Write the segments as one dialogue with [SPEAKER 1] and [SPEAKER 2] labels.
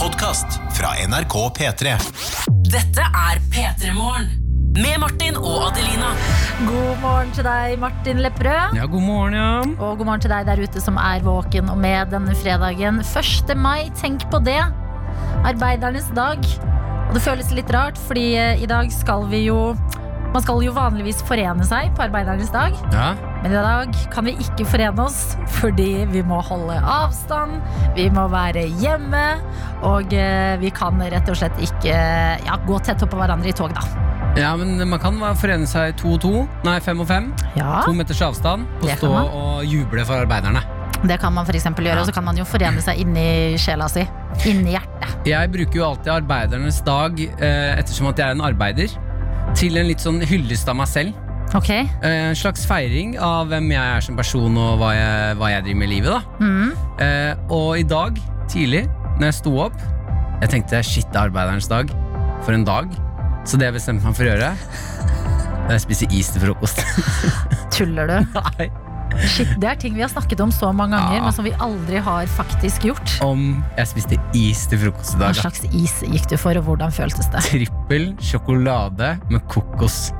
[SPEAKER 1] podkast fra NRK P3.
[SPEAKER 2] Dette er P3 Morgen. Med Martin og Adelina.
[SPEAKER 3] God morgen til deg, Martin Lepperød.
[SPEAKER 4] Ja, god morgen, ja.
[SPEAKER 3] Og god morgen til deg der ute som er våken og med denne fredagen. 1. mai, tenk på det. Arbeidernes dag. Og det føles litt rart, fordi eh, i dag skal vi jo Man skal jo vanligvis forene seg på arbeidernes dag,
[SPEAKER 4] Ja,
[SPEAKER 3] men i dag kan vi ikke forene oss fordi vi må holde avstand, vi må være hjemme, og eh, vi kan rett og slett ikke eh, ja, gå tett oppå hverandre i tog, da.
[SPEAKER 4] ja men man kan være- forene seg to og to. Nei, fem og fem.
[SPEAKER 3] Ja.
[SPEAKER 4] To meters avstand. Og
[SPEAKER 3] Ah. Det kan
[SPEAKER 4] stå
[SPEAKER 3] man.
[SPEAKER 4] og juble for arbeiderne.
[SPEAKER 3] Det kan man for eksempel gjøre, og
[SPEAKER 4] Ja.
[SPEAKER 3] så kan man jo forene seg inni sjela si. Inni hjertet.
[SPEAKER 4] Jeg bruker jo alltid arbeidernes dag, eh, ettersom at jeg er en arbeider, til en litt sånn hyllest av meg selv.
[SPEAKER 3] Ok?
[SPEAKER 4] Eh, en slags feiring av hvem jeg er som person og hva jeg, hva jeg driver med i livet. da.
[SPEAKER 3] Mm.
[SPEAKER 4] Eh, og i dag tidlig, når jeg sto opp, jeg tenkte shit, det er arbeidernes dag. For en dag. Så det jeg bestemte meg for å gjøre, er å spise is til frokost.
[SPEAKER 3] Tuller du?
[SPEAKER 4] Nei.
[SPEAKER 3] Shit, det er ting vi har snakket om så mange ganger,
[SPEAKER 4] Ja.
[SPEAKER 3] men som vi aldri har faktisk gjort.
[SPEAKER 4] om jeg spiste is til frokost i
[SPEAKER 3] Hva
[SPEAKER 4] dag. da.
[SPEAKER 3] slags is gikk du for, og hvordan føltes det?
[SPEAKER 4] Trippel sjokolade med kokos.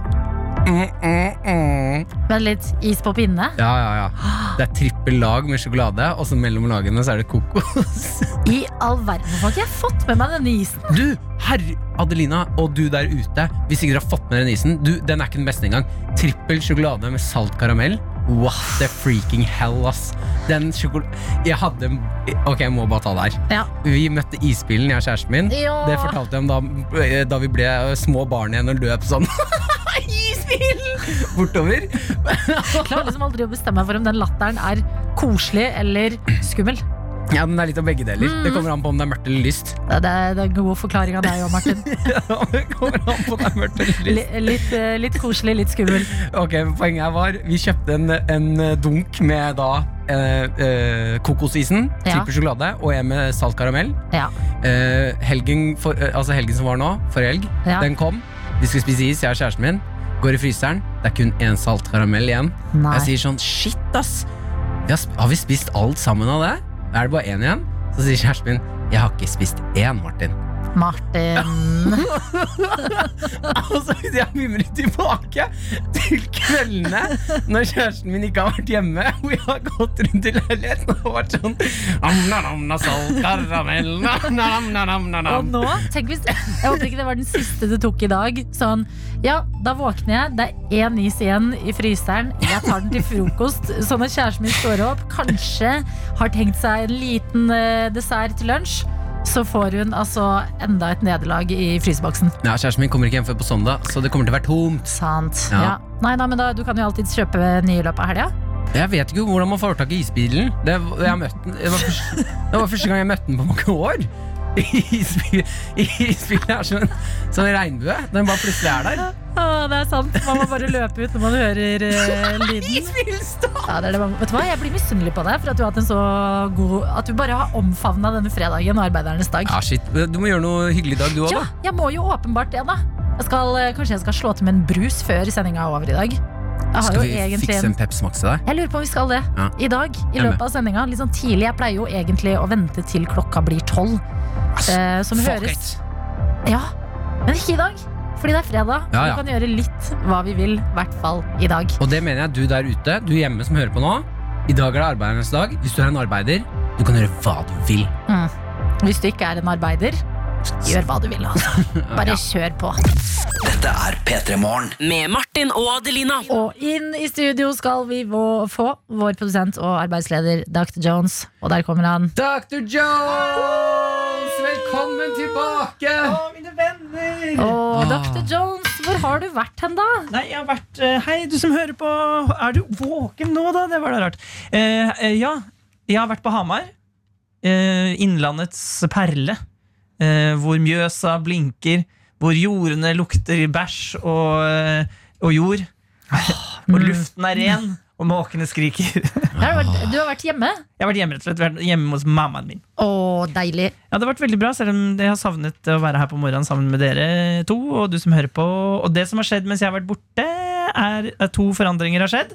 [SPEAKER 3] Vent litt, is på pinne?
[SPEAKER 4] Ja, ja, ja. Det er trippel lag med sjokolade, og så mellom lagene så er det kokos.
[SPEAKER 3] I all verden, hvorfor har ikke jeg fått med meg denne isen?
[SPEAKER 4] Du, herre Adelina, og du der ute, hvis ikke du har fått med den isen du, Den er ikke den beste engang. Trippel sjokolade med salt karamell. What the freaking hell, ass. Den sjokol... Jeg hadde en Ok, jeg må bare ta det her.
[SPEAKER 3] Ja.
[SPEAKER 4] Vi møtte isbilen, jeg og kjæresten min.
[SPEAKER 3] Ja.
[SPEAKER 4] Det fortalte jeg om da, eh, da vi ble eh, små barn igjen og løp sånn. Isbilen! Bortover.
[SPEAKER 3] Jeg klarer liksom aldri å bestemme meg for om den latteren er koselig eller skummel.
[SPEAKER 4] Ja, den er litt av begge deler. Det kommer an på om det er mørkt eller lyst.
[SPEAKER 3] Det, det, det er en god forklaring av deg òg, Martin.
[SPEAKER 4] Ja, det kommer an på om det er mørkt eller lyst.
[SPEAKER 3] Li- Litt, eh, litt koselig, litt skummel.
[SPEAKER 4] Ok, Poenget her var vi kjøpte en, en eh, dunk med da eh, eh, kokosisen,
[SPEAKER 3] Ja.
[SPEAKER 4] trippel sjokolade, og en med salt karamell.
[SPEAKER 3] Ja.
[SPEAKER 4] Eh, helgen, for, eh, altså helgen som var nå, forrige helg,
[SPEAKER 3] Ja.
[SPEAKER 4] den kom. Vi skulle spise is, jeg og kjæresten min. Går i fryseren. Det er kun én salt karamell igjen.
[SPEAKER 3] Nei.
[SPEAKER 4] Jeg sier sånn Shit, ass! Vi har, sp- har vi spist alt sammen av det? Er det bare én igjen? Så sier kjæresten min jeg har ikke spist én, Martin.
[SPEAKER 3] Martin.
[SPEAKER 4] Og så jeg mimrer tilbake til kveldene når kjæresten min ikke har vært hjemme, og jeg har gått rundt i leiligheten og vært sånn Amnanamna salt karamell
[SPEAKER 3] Og
[SPEAKER 4] nam-nam-nam-nam-nam.
[SPEAKER 3] nå, tenk hvis Jeg håper ikke det var den siste du tok i dag. Sånn, ja, da våkner jeg, det er én is igjen i fryseren, jeg tar den til frokost. Så når kjæresten min står opp, kanskje har tenkt seg en liten eh, dessert til lunsj, så får hun altså enda et nederlag i fryseboksen.
[SPEAKER 4] Ja, kjæresten min kommer ikke hjem før på søndag, så det kommer til å være tomt.
[SPEAKER 3] Sant.
[SPEAKER 4] Ja.
[SPEAKER 3] Ja. Nei, nei, men da, du kan jo alltid kjøpe nye i løpet av helga.
[SPEAKER 4] Jeg vet ikke hvordan man får tak i isbilen. Det, jeg møtte den- det, var første, det var første gang jeg møtte den på mange år. Isbil- Isbilen er som en, som en regnbue. Den bare plutselig er der.
[SPEAKER 3] Å, det er sant. Man må bare løpe ut når man hører eh, lyden.
[SPEAKER 4] Isbilen står!
[SPEAKER 3] Ja, det er det. man- Vet du hva? Jeg blir misunnelig på deg for at du har hatt en så god At du bare har omfavna denne fredagen og arbeidernes dag.
[SPEAKER 4] Ja, shit. Du må gjøre noe hyggelig i dag, du òg,
[SPEAKER 3] Ja,
[SPEAKER 4] da.
[SPEAKER 3] jeg må jo åpenbart det, da. Jeg skal, eh, kanskje jeg skal slå til med en brus før sendinga er over i dag. Jeg har
[SPEAKER 4] Skal
[SPEAKER 3] jo
[SPEAKER 4] vi
[SPEAKER 3] egentlig
[SPEAKER 4] fikse
[SPEAKER 3] en
[SPEAKER 4] en Peps Max til deg?
[SPEAKER 3] jeg lurer på om vi skal det
[SPEAKER 4] Ja.
[SPEAKER 3] i dag. I
[SPEAKER 4] Jeg er
[SPEAKER 3] løpet av sendinga. Litt sånn tidlig. Jeg pleier jo egentlig å vente til klokka blir tolv. Eh, som
[SPEAKER 4] Fuck
[SPEAKER 3] høres
[SPEAKER 4] it.
[SPEAKER 3] Ja, men ikke i dag. Fordi det er fredag.
[SPEAKER 4] Ja, ja.
[SPEAKER 3] Vi kan gjøre litt hva vi vil. I hvert fall i dag.
[SPEAKER 4] Og det mener jeg du der ute, du hjemme som hører på nå. I dag er det arbeidernes dag. Hvis du er en arbeider, du kan gjøre hva du vil.
[SPEAKER 3] Hvis du ikke er en arbeider, gjør hva du vil. Altså. Bare kjør på.
[SPEAKER 1] Dette er P3 Morgen.
[SPEAKER 2] Med Martin og Adelina.
[SPEAKER 3] Og inn i studio skal vi vå- få vår produsent og arbeidsleder Dr. Jones. Og der kommer han.
[SPEAKER 4] Dr. Jones, velkommen tilbake!
[SPEAKER 5] Å, mine venner!
[SPEAKER 3] Og
[SPEAKER 4] Ah.
[SPEAKER 3] Dr. Jones, hvor har du vært hen, da?
[SPEAKER 5] Nei, jeg har vært eh, Hei, du som hører på. Er du våken nå, da? Det var da rart. Eh, eh, ja, jeg har vært på Hamar. Eh, innlandets perle. Eh, hvor Mjøsa blinker. Hvor jordene lukter bæsj og, eh, og jord. og luften er ren, og måkene skriker. jeg
[SPEAKER 3] Der har Du vært- du har vært hjemme.
[SPEAKER 5] har vært hjemme rett og slett, vært hjemme hos mammaen min.
[SPEAKER 3] Å, deilig.
[SPEAKER 5] Ja, Det har vært veldig bra, selv om jeg har savnet å være her på morgenen sammen med dere to. Og du som hører på Og det som har skjedd mens jeg har vært borte, er at to forandringer har skjedd.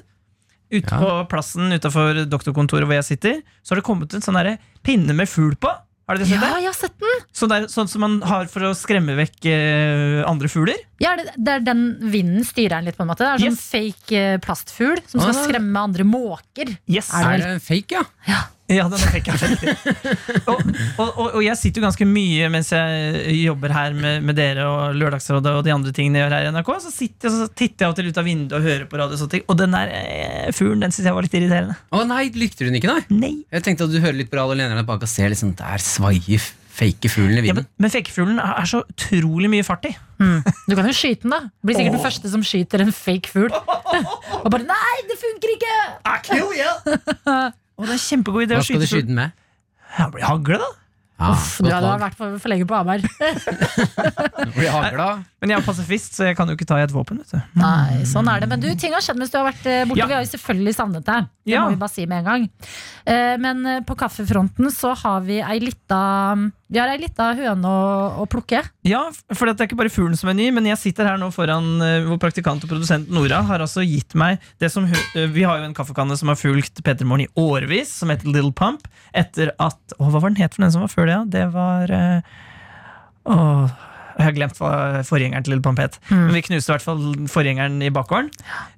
[SPEAKER 5] Ute
[SPEAKER 4] Ja.
[SPEAKER 5] på plassen utenfor doktorkontoret hvor jeg sitter, Så har det kommet en sånn derre pinne med fugl på. Har dere sett
[SPEAKER 3] Ja,
[SPEAKER 5] det?
[SPEAKER 3] jeg har sett den!
[SPEAKER 5] Så det er sånn som man har for å skremme vekk eh, andre fugler.
[SPEAKER 3] Ja, det, det er den vinden styrer den litt, på en måte. Det er sånn
[SPEAKER 5] Yes.
[SPEAKER 3] fake eh, plastfugl som skal
[SPEAKER 4] Ah.
[SPEAKER 3] skremme andre måker.
[SPEAKER 5] Yes.
[SPEAKER 3] Er
[SPEAKER 4] Er det en fake, ja?
[SPEAKER 5] Ja, den fikk jeg veldig. og, og, og, og jeg sitter jo ganske mye mens jeg eh, jobber her med, med dere og Lørdagsrådet og de andre tingene jeg gjør her i NRK, så, sitter, jeg- så titter jeg av og til ut av vinduet og hører på radio og sånne ting. Og den der eh, fuglen, den syns jeg var litt irriterende.
[SPEAKER 4] Å nei, lykter hun ikke, nei?
[SPEAKER 5] Nei.
[SPEAKER 4] Jeg tenkte at du hører litt på radio og lener deg bak og ser liksom, der svaier f- fake fuglen i
[SPEAKER 5] Ja,
[SPEAKER 4] vinden.
[SPEAKER 5] men, men fekefuglen er er så utrolig mye fart i.
[SPEAKER 3] Du kan jo skyte den, da. Blir sikkert den første som skyter en fake fugl. Og bare 'nei, det funker ikke'!
[SPEAKER 5] Og det er kjempegod idé
[SPEAKER 4] Hva
[SPEAKER 5] å
[SPEAKER 4] skal du
[SPEAKER 5] skyte
[SPEAKER 4] skyte
[SPEAKER 5] fuglen.
[SPEAKER 4] den med?
[SPEAKER 5] Ja, blir hagle, da.
[SPEAKER 4] Ja,
[SPEAKER 3] Uff, du
[SPEAKER 4] godt
[SPEAKER 3] hadde
[SPEAKER 4] valg.
[SPEAKER 3] vært for, for lenge på Hamar.
[SPEAKER 4] Blir hagla.
[SPEAKER 5] Men jeg er pasifist, så jeg kan jo ikke ta i et våpen. vet du
[SPEAKER 3] Nei, sånn er det. Men du, ting har skjedd mens du har vært eh, borte.
[SPEAKER 5] Ja.
[SPEAKER 3] Vi har jo selvfølgelig savnet deg. Det
[SPEAKER 5] Ja.
[SPEAKER 3] må vi bare si med en gang. Eh, Men eh, på kaffefronten så har vi ei lita Vi har ei lita høne å, å plukke.
[SPEAKER 5] Ja, for det er ikke bare fuglen som er ny, men jeg sitter her nå foran eh, vår praktikant og produsent Nora har altså gitt meg det som hun, eh, Vi har jo en kaffekanne som har fulgt Peter Morn i årevis, som heter Little Pump. Etter at Å, hva var den het for den som var før det, ja? Det var eh, Å, jeg har glemt hva forgjengeren til Little Pump het. Men vi knuste i hvert fall forgjengeren i bakgården.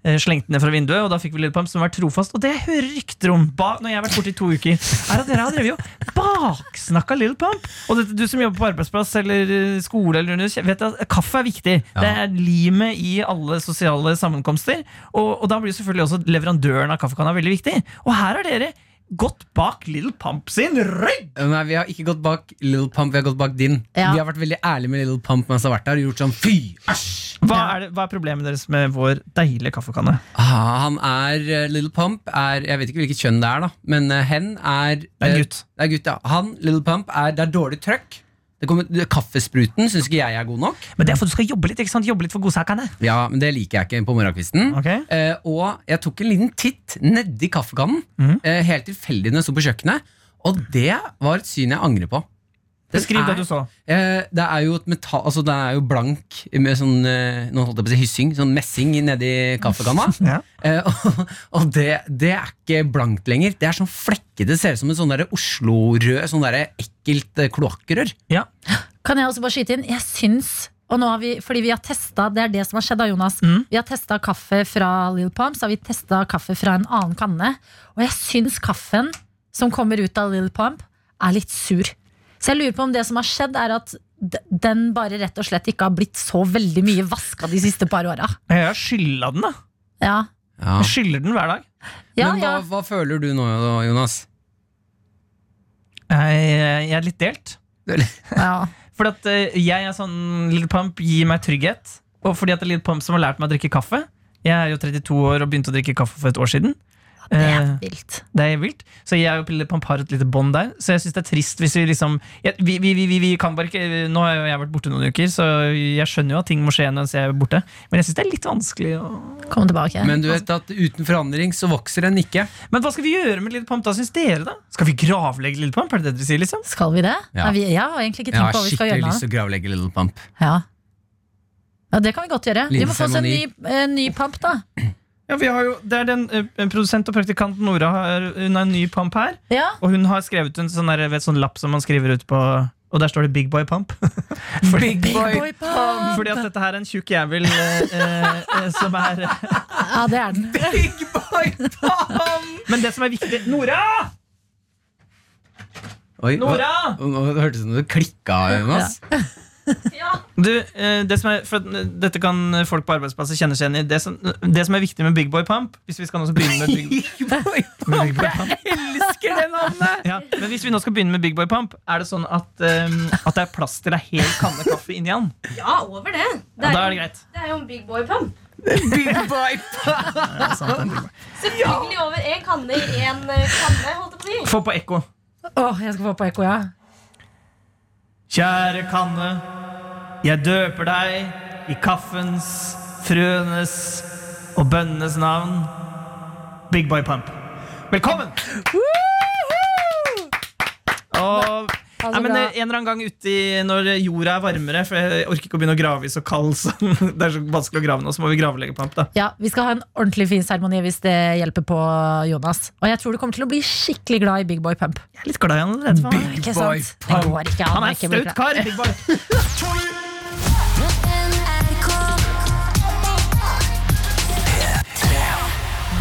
[SPEAKER 5] eh, Slengte den ned fra vinduet, og da fikk vi Little Pump, som har vært trofast. Og det jeg hører rykter om, ba, når jeg har vært borte i to uker, er at dere har drevet og baksnakka Little Pump. Og dette, du som jobber på arbeidsplass eller eh, skole, eller under, vet at kaffe er viktig. Det er limet i alle sosiale sammenkomster. Og, og da blir jo selvfølgelig også leverandøren av kaffekanna veldig viktig. Og her har dere gått bak Little Pump sin rygg!
[SPEAKER 4] Nei, vi har ikke gått bak Little Pump, vi har gått bak din.
[SPEAKER 3] Ja.
[SPEAKER 4] Vi har vært veldig ærlige med Little Pump mens han har vært der og gjort sånn fy, æsj!
[SPEAKER 5] Hva er, det, hva er problemet deres med vår deilige kaffekanne?
[SPEAKER 4] Ah, han er eh, Little Pump er Jeg vet ikke hvilket kjønn det er, da, men eh, hen er
[SPEAKER 5] er en
[SPEAKER 4] eh,
[SPEAKER 5] gutt.
[SPEAKER 4] Det er gutt, ja. Han, Little Pump, er Det er dårlig trøkk. Det kommer, det, kaffespruten syns ikke jeg er god nok.
[SPEAKER 5] Men det er for du skal jobbe litt, ikke sant? Jobbe litt for godsakene.
[SPEAKER 4] Ja, men Det liker jeg ikke på morgenkvisten.
[SPEAKER 5] Ok.
[SPEAKER 4] Eh, og jeg tok en liten titt nedi kaffekannen,
[SPEAKER 5] Mhm.
[SPEAKER 4] eh, helt tilfeldig når jeg sto på kjøkkenet. Og det var et syn jeg angrer på. Den
[SPEAKER 5] Beskriv det
[SPEAKER 4] er-
[SPEAKER 5] du så.
[SPEAKER 4] Eh, det er jo et metall Altså det er jo blank med sånn eh, Nå holdt jeg på å si hyssing, sånn messing nedi kaffekanna.
[SPEAKER 5] Ja.
[SPEAKER 4] Eh, og og det, det er ikke blankt lenger. Det er sånn flekkete. Det ser ut som en sånn derre Oslo-rød, sånn derre ekkelt eh, kloakkrør.
[SPEAKER 5] Ja.
[SPEAKER 3] Kan jeg også bare skyte inn? Jeg syns og nå har vi, fordi vi har testet, Det er det som har skjedd, da, Jonas.
[SPEAKER 4] Mm.
[SPEAKER 3] Vi har testa kaffe fra Lil Pump, så har vi testa kaffe fra en annen kanne. Og jeg syns kaffen som kommer ut av Lil Pump, er litt sur. Så jeg lurer på om det som har skjedd, er at d- den bare rett og slett ikke har blitt så veldig mye vaska de siste par åra.
[SPEAKER 5] Jeg skylla den, da.
[SPEAKER 3] Ja.
[SPEAKER 4] Ja.
[SPEAKER 5] Jeg skyller den hver dag.
[SPEAKER 3] Ja,
[SPEAKER 4] Men hva,
[SPEAKER 3] ja.
[SPEAKER 4] hva føler du nå, Jonas?
[SPEAKER 5] Jeg, Eh, jeg er litt delt.
[SPEAKER 3] ja.
[SPEAKER 5] Fordi at eh, jeg er sånn Little Pump gir meg trygghet. Og fordi at det er Little Pump som har lært meg å drikke kaffe. Jeg er jo 32 år og begynte å drikke kaffe for et år siden.
[SPEAKER 3] Det er
[SPEAKER 5] Eh,
[SPEAKER 3] vilt.
[SPEAKER 5] Det er vilt. Så jeg og Pille Pamp har et lite bånd der. Så jeg syns det er trist hvis vi liksom jeg, vi, vi, vi, vi, vi kan bare ikke Nå har jo jeg vært borte noen uker, så jeg skjønner jo at ting må skje mens jeg er borte. Men jeg syns det er litt vanskelig å
[SPEAKER 3] Kom tilbake.
[SPEAKER 4] Men du vet at uten forandring så vokser en ikke.
[SPEAKER 5] Men hva skal vi gjøre med Lille Pamp, da, syns dere? da? Skal vi gravlegge Lille Pamp? Er det det dere sier, liksom?
[SPEAKER 3] Skal vi det?
[SPEAKER 4] Ja.
[SPEAKER 3] Nei, vi, jeg har egentlig ikke
[SPEAKER 4] Jeg
[SPEAKER 3] tenkt
[SPEAKER 4] har
[SPEAKER 3] på hva vi skal gjøre
[SPEAKER 4] skikkelig
[SPEAKER 3] med det.
[SPEAKER 4] lyst til å gravlegge Little Pump.
[SPEAKER 3] Ja. ja, det kan vi godt gjøre.
[SPEAKER 4] Liten
[SPEAKER 3] Vi må få oss en ny,
[SPEAKER 4] seremoni.
[SPEAKER 3] eh, ny pamp, da.
[SPEAKER 5] Ja, vi har jo, Det er den eh, produsent og praktikant Nora har, hun har en ny pamp her.
[SPEAKER 3] Ja.
[SPEAKER 5] Og hun har skrevet en sånn, der, vet, sånn lapp som man skriver ut på Og der står det Big Boy Pump. Fordi,
[SPEAKER 4] Big
[SPEAKER 3] Boy pump!
[SPEAKER 5] fordi at dette her er en tjukk jævel eh, eh, eh, som er
[SPEAKER 3] Ja, det er den.
[SPEAKER 5] Big Boy Pump! Men det som er viktig Nora!
[SPEAKER 4] Oi,
[SPEAKER 5] Nora!
[SPEAKER 4] hva- Nå hørtes det ut som du klikka, Jonas.
[SPEAKER 5] Du, eh, det som er, for, at, eh, dette kan folk på arbeidsplasser kjenne seg igjen i. Det som, det som er viktig med Big Boy Pump Hvis vi skal nå også begynne med Big, Big Boy Pump
[SPEAKER 4] Elsker det navnet!
[SPEAKER 5] ja, Men hvis vi nå skal begynne med Big Boy Pump, er det sånn at, eh, at det er plass til ei hel kanne kaffe inni den?
[SPEAKER 6] Ja, over det. Det
[SPEAKER 5] Ja, da
[SPEAKER 6] er,
[SPEAKER 5] er det
[SPEAKER 6] jo-
[SPEAKER 5] greit.
[SPEAKER 6] det er jo en big boy pump.
[SPEAKER 4] Big boy pump.
[SPEAKER 6] Selvfølgelig over én kanne i én kanne, holdt jeg på å si.
[SPEAKER 5] Få på ekko.
[SPEAKER 3] Åh, jeg skal få på ekko, ja.
[SPEAKER 5] Kjære kanne, jeg døper deg i kaffens, frøenes og bønnenes navn. Big Boy Pump. Velkommen! Og
[SPEAKER 3] Ha
[SPEAKER 5] Nei,
[SPEAKER 3] det
[SPEAKER 5] men
[SPEAKER 3] bra.
[SPEAKER 5] eh, En eller annen gang uti når jorda er varmere, for jeg orker ikke å begynne å grave i så kald så Det er så vanskelig å grave nå, så må vi graveleggepamp, da.
[SPEAKER 3] Ja, Vi skal ha en ordentlig fin seremoni hvis det hjelper på Jonas. Og jeg tror du kommer til å bli skikkelig glad i Big Boy Pump.
[SPEAKER 5] Jeg er litt glad i han allerede. for han er-
[SPEAKER 3] Ikke
[SPEAKER 4] Boy
[SPEAKER 3] sant? Det går ikke an.
[SPEAKER 5] Han
[SPEAKER 3] å
[SPEAKER 5] er
[SPEAKER 3] ikke
[SPEAKER 5] en
[SPEAKER 3] bli
[SPEAKER 5] flaut
[SPEAKER 3] glad.
[SPEAKER 5] kar. Big Boy.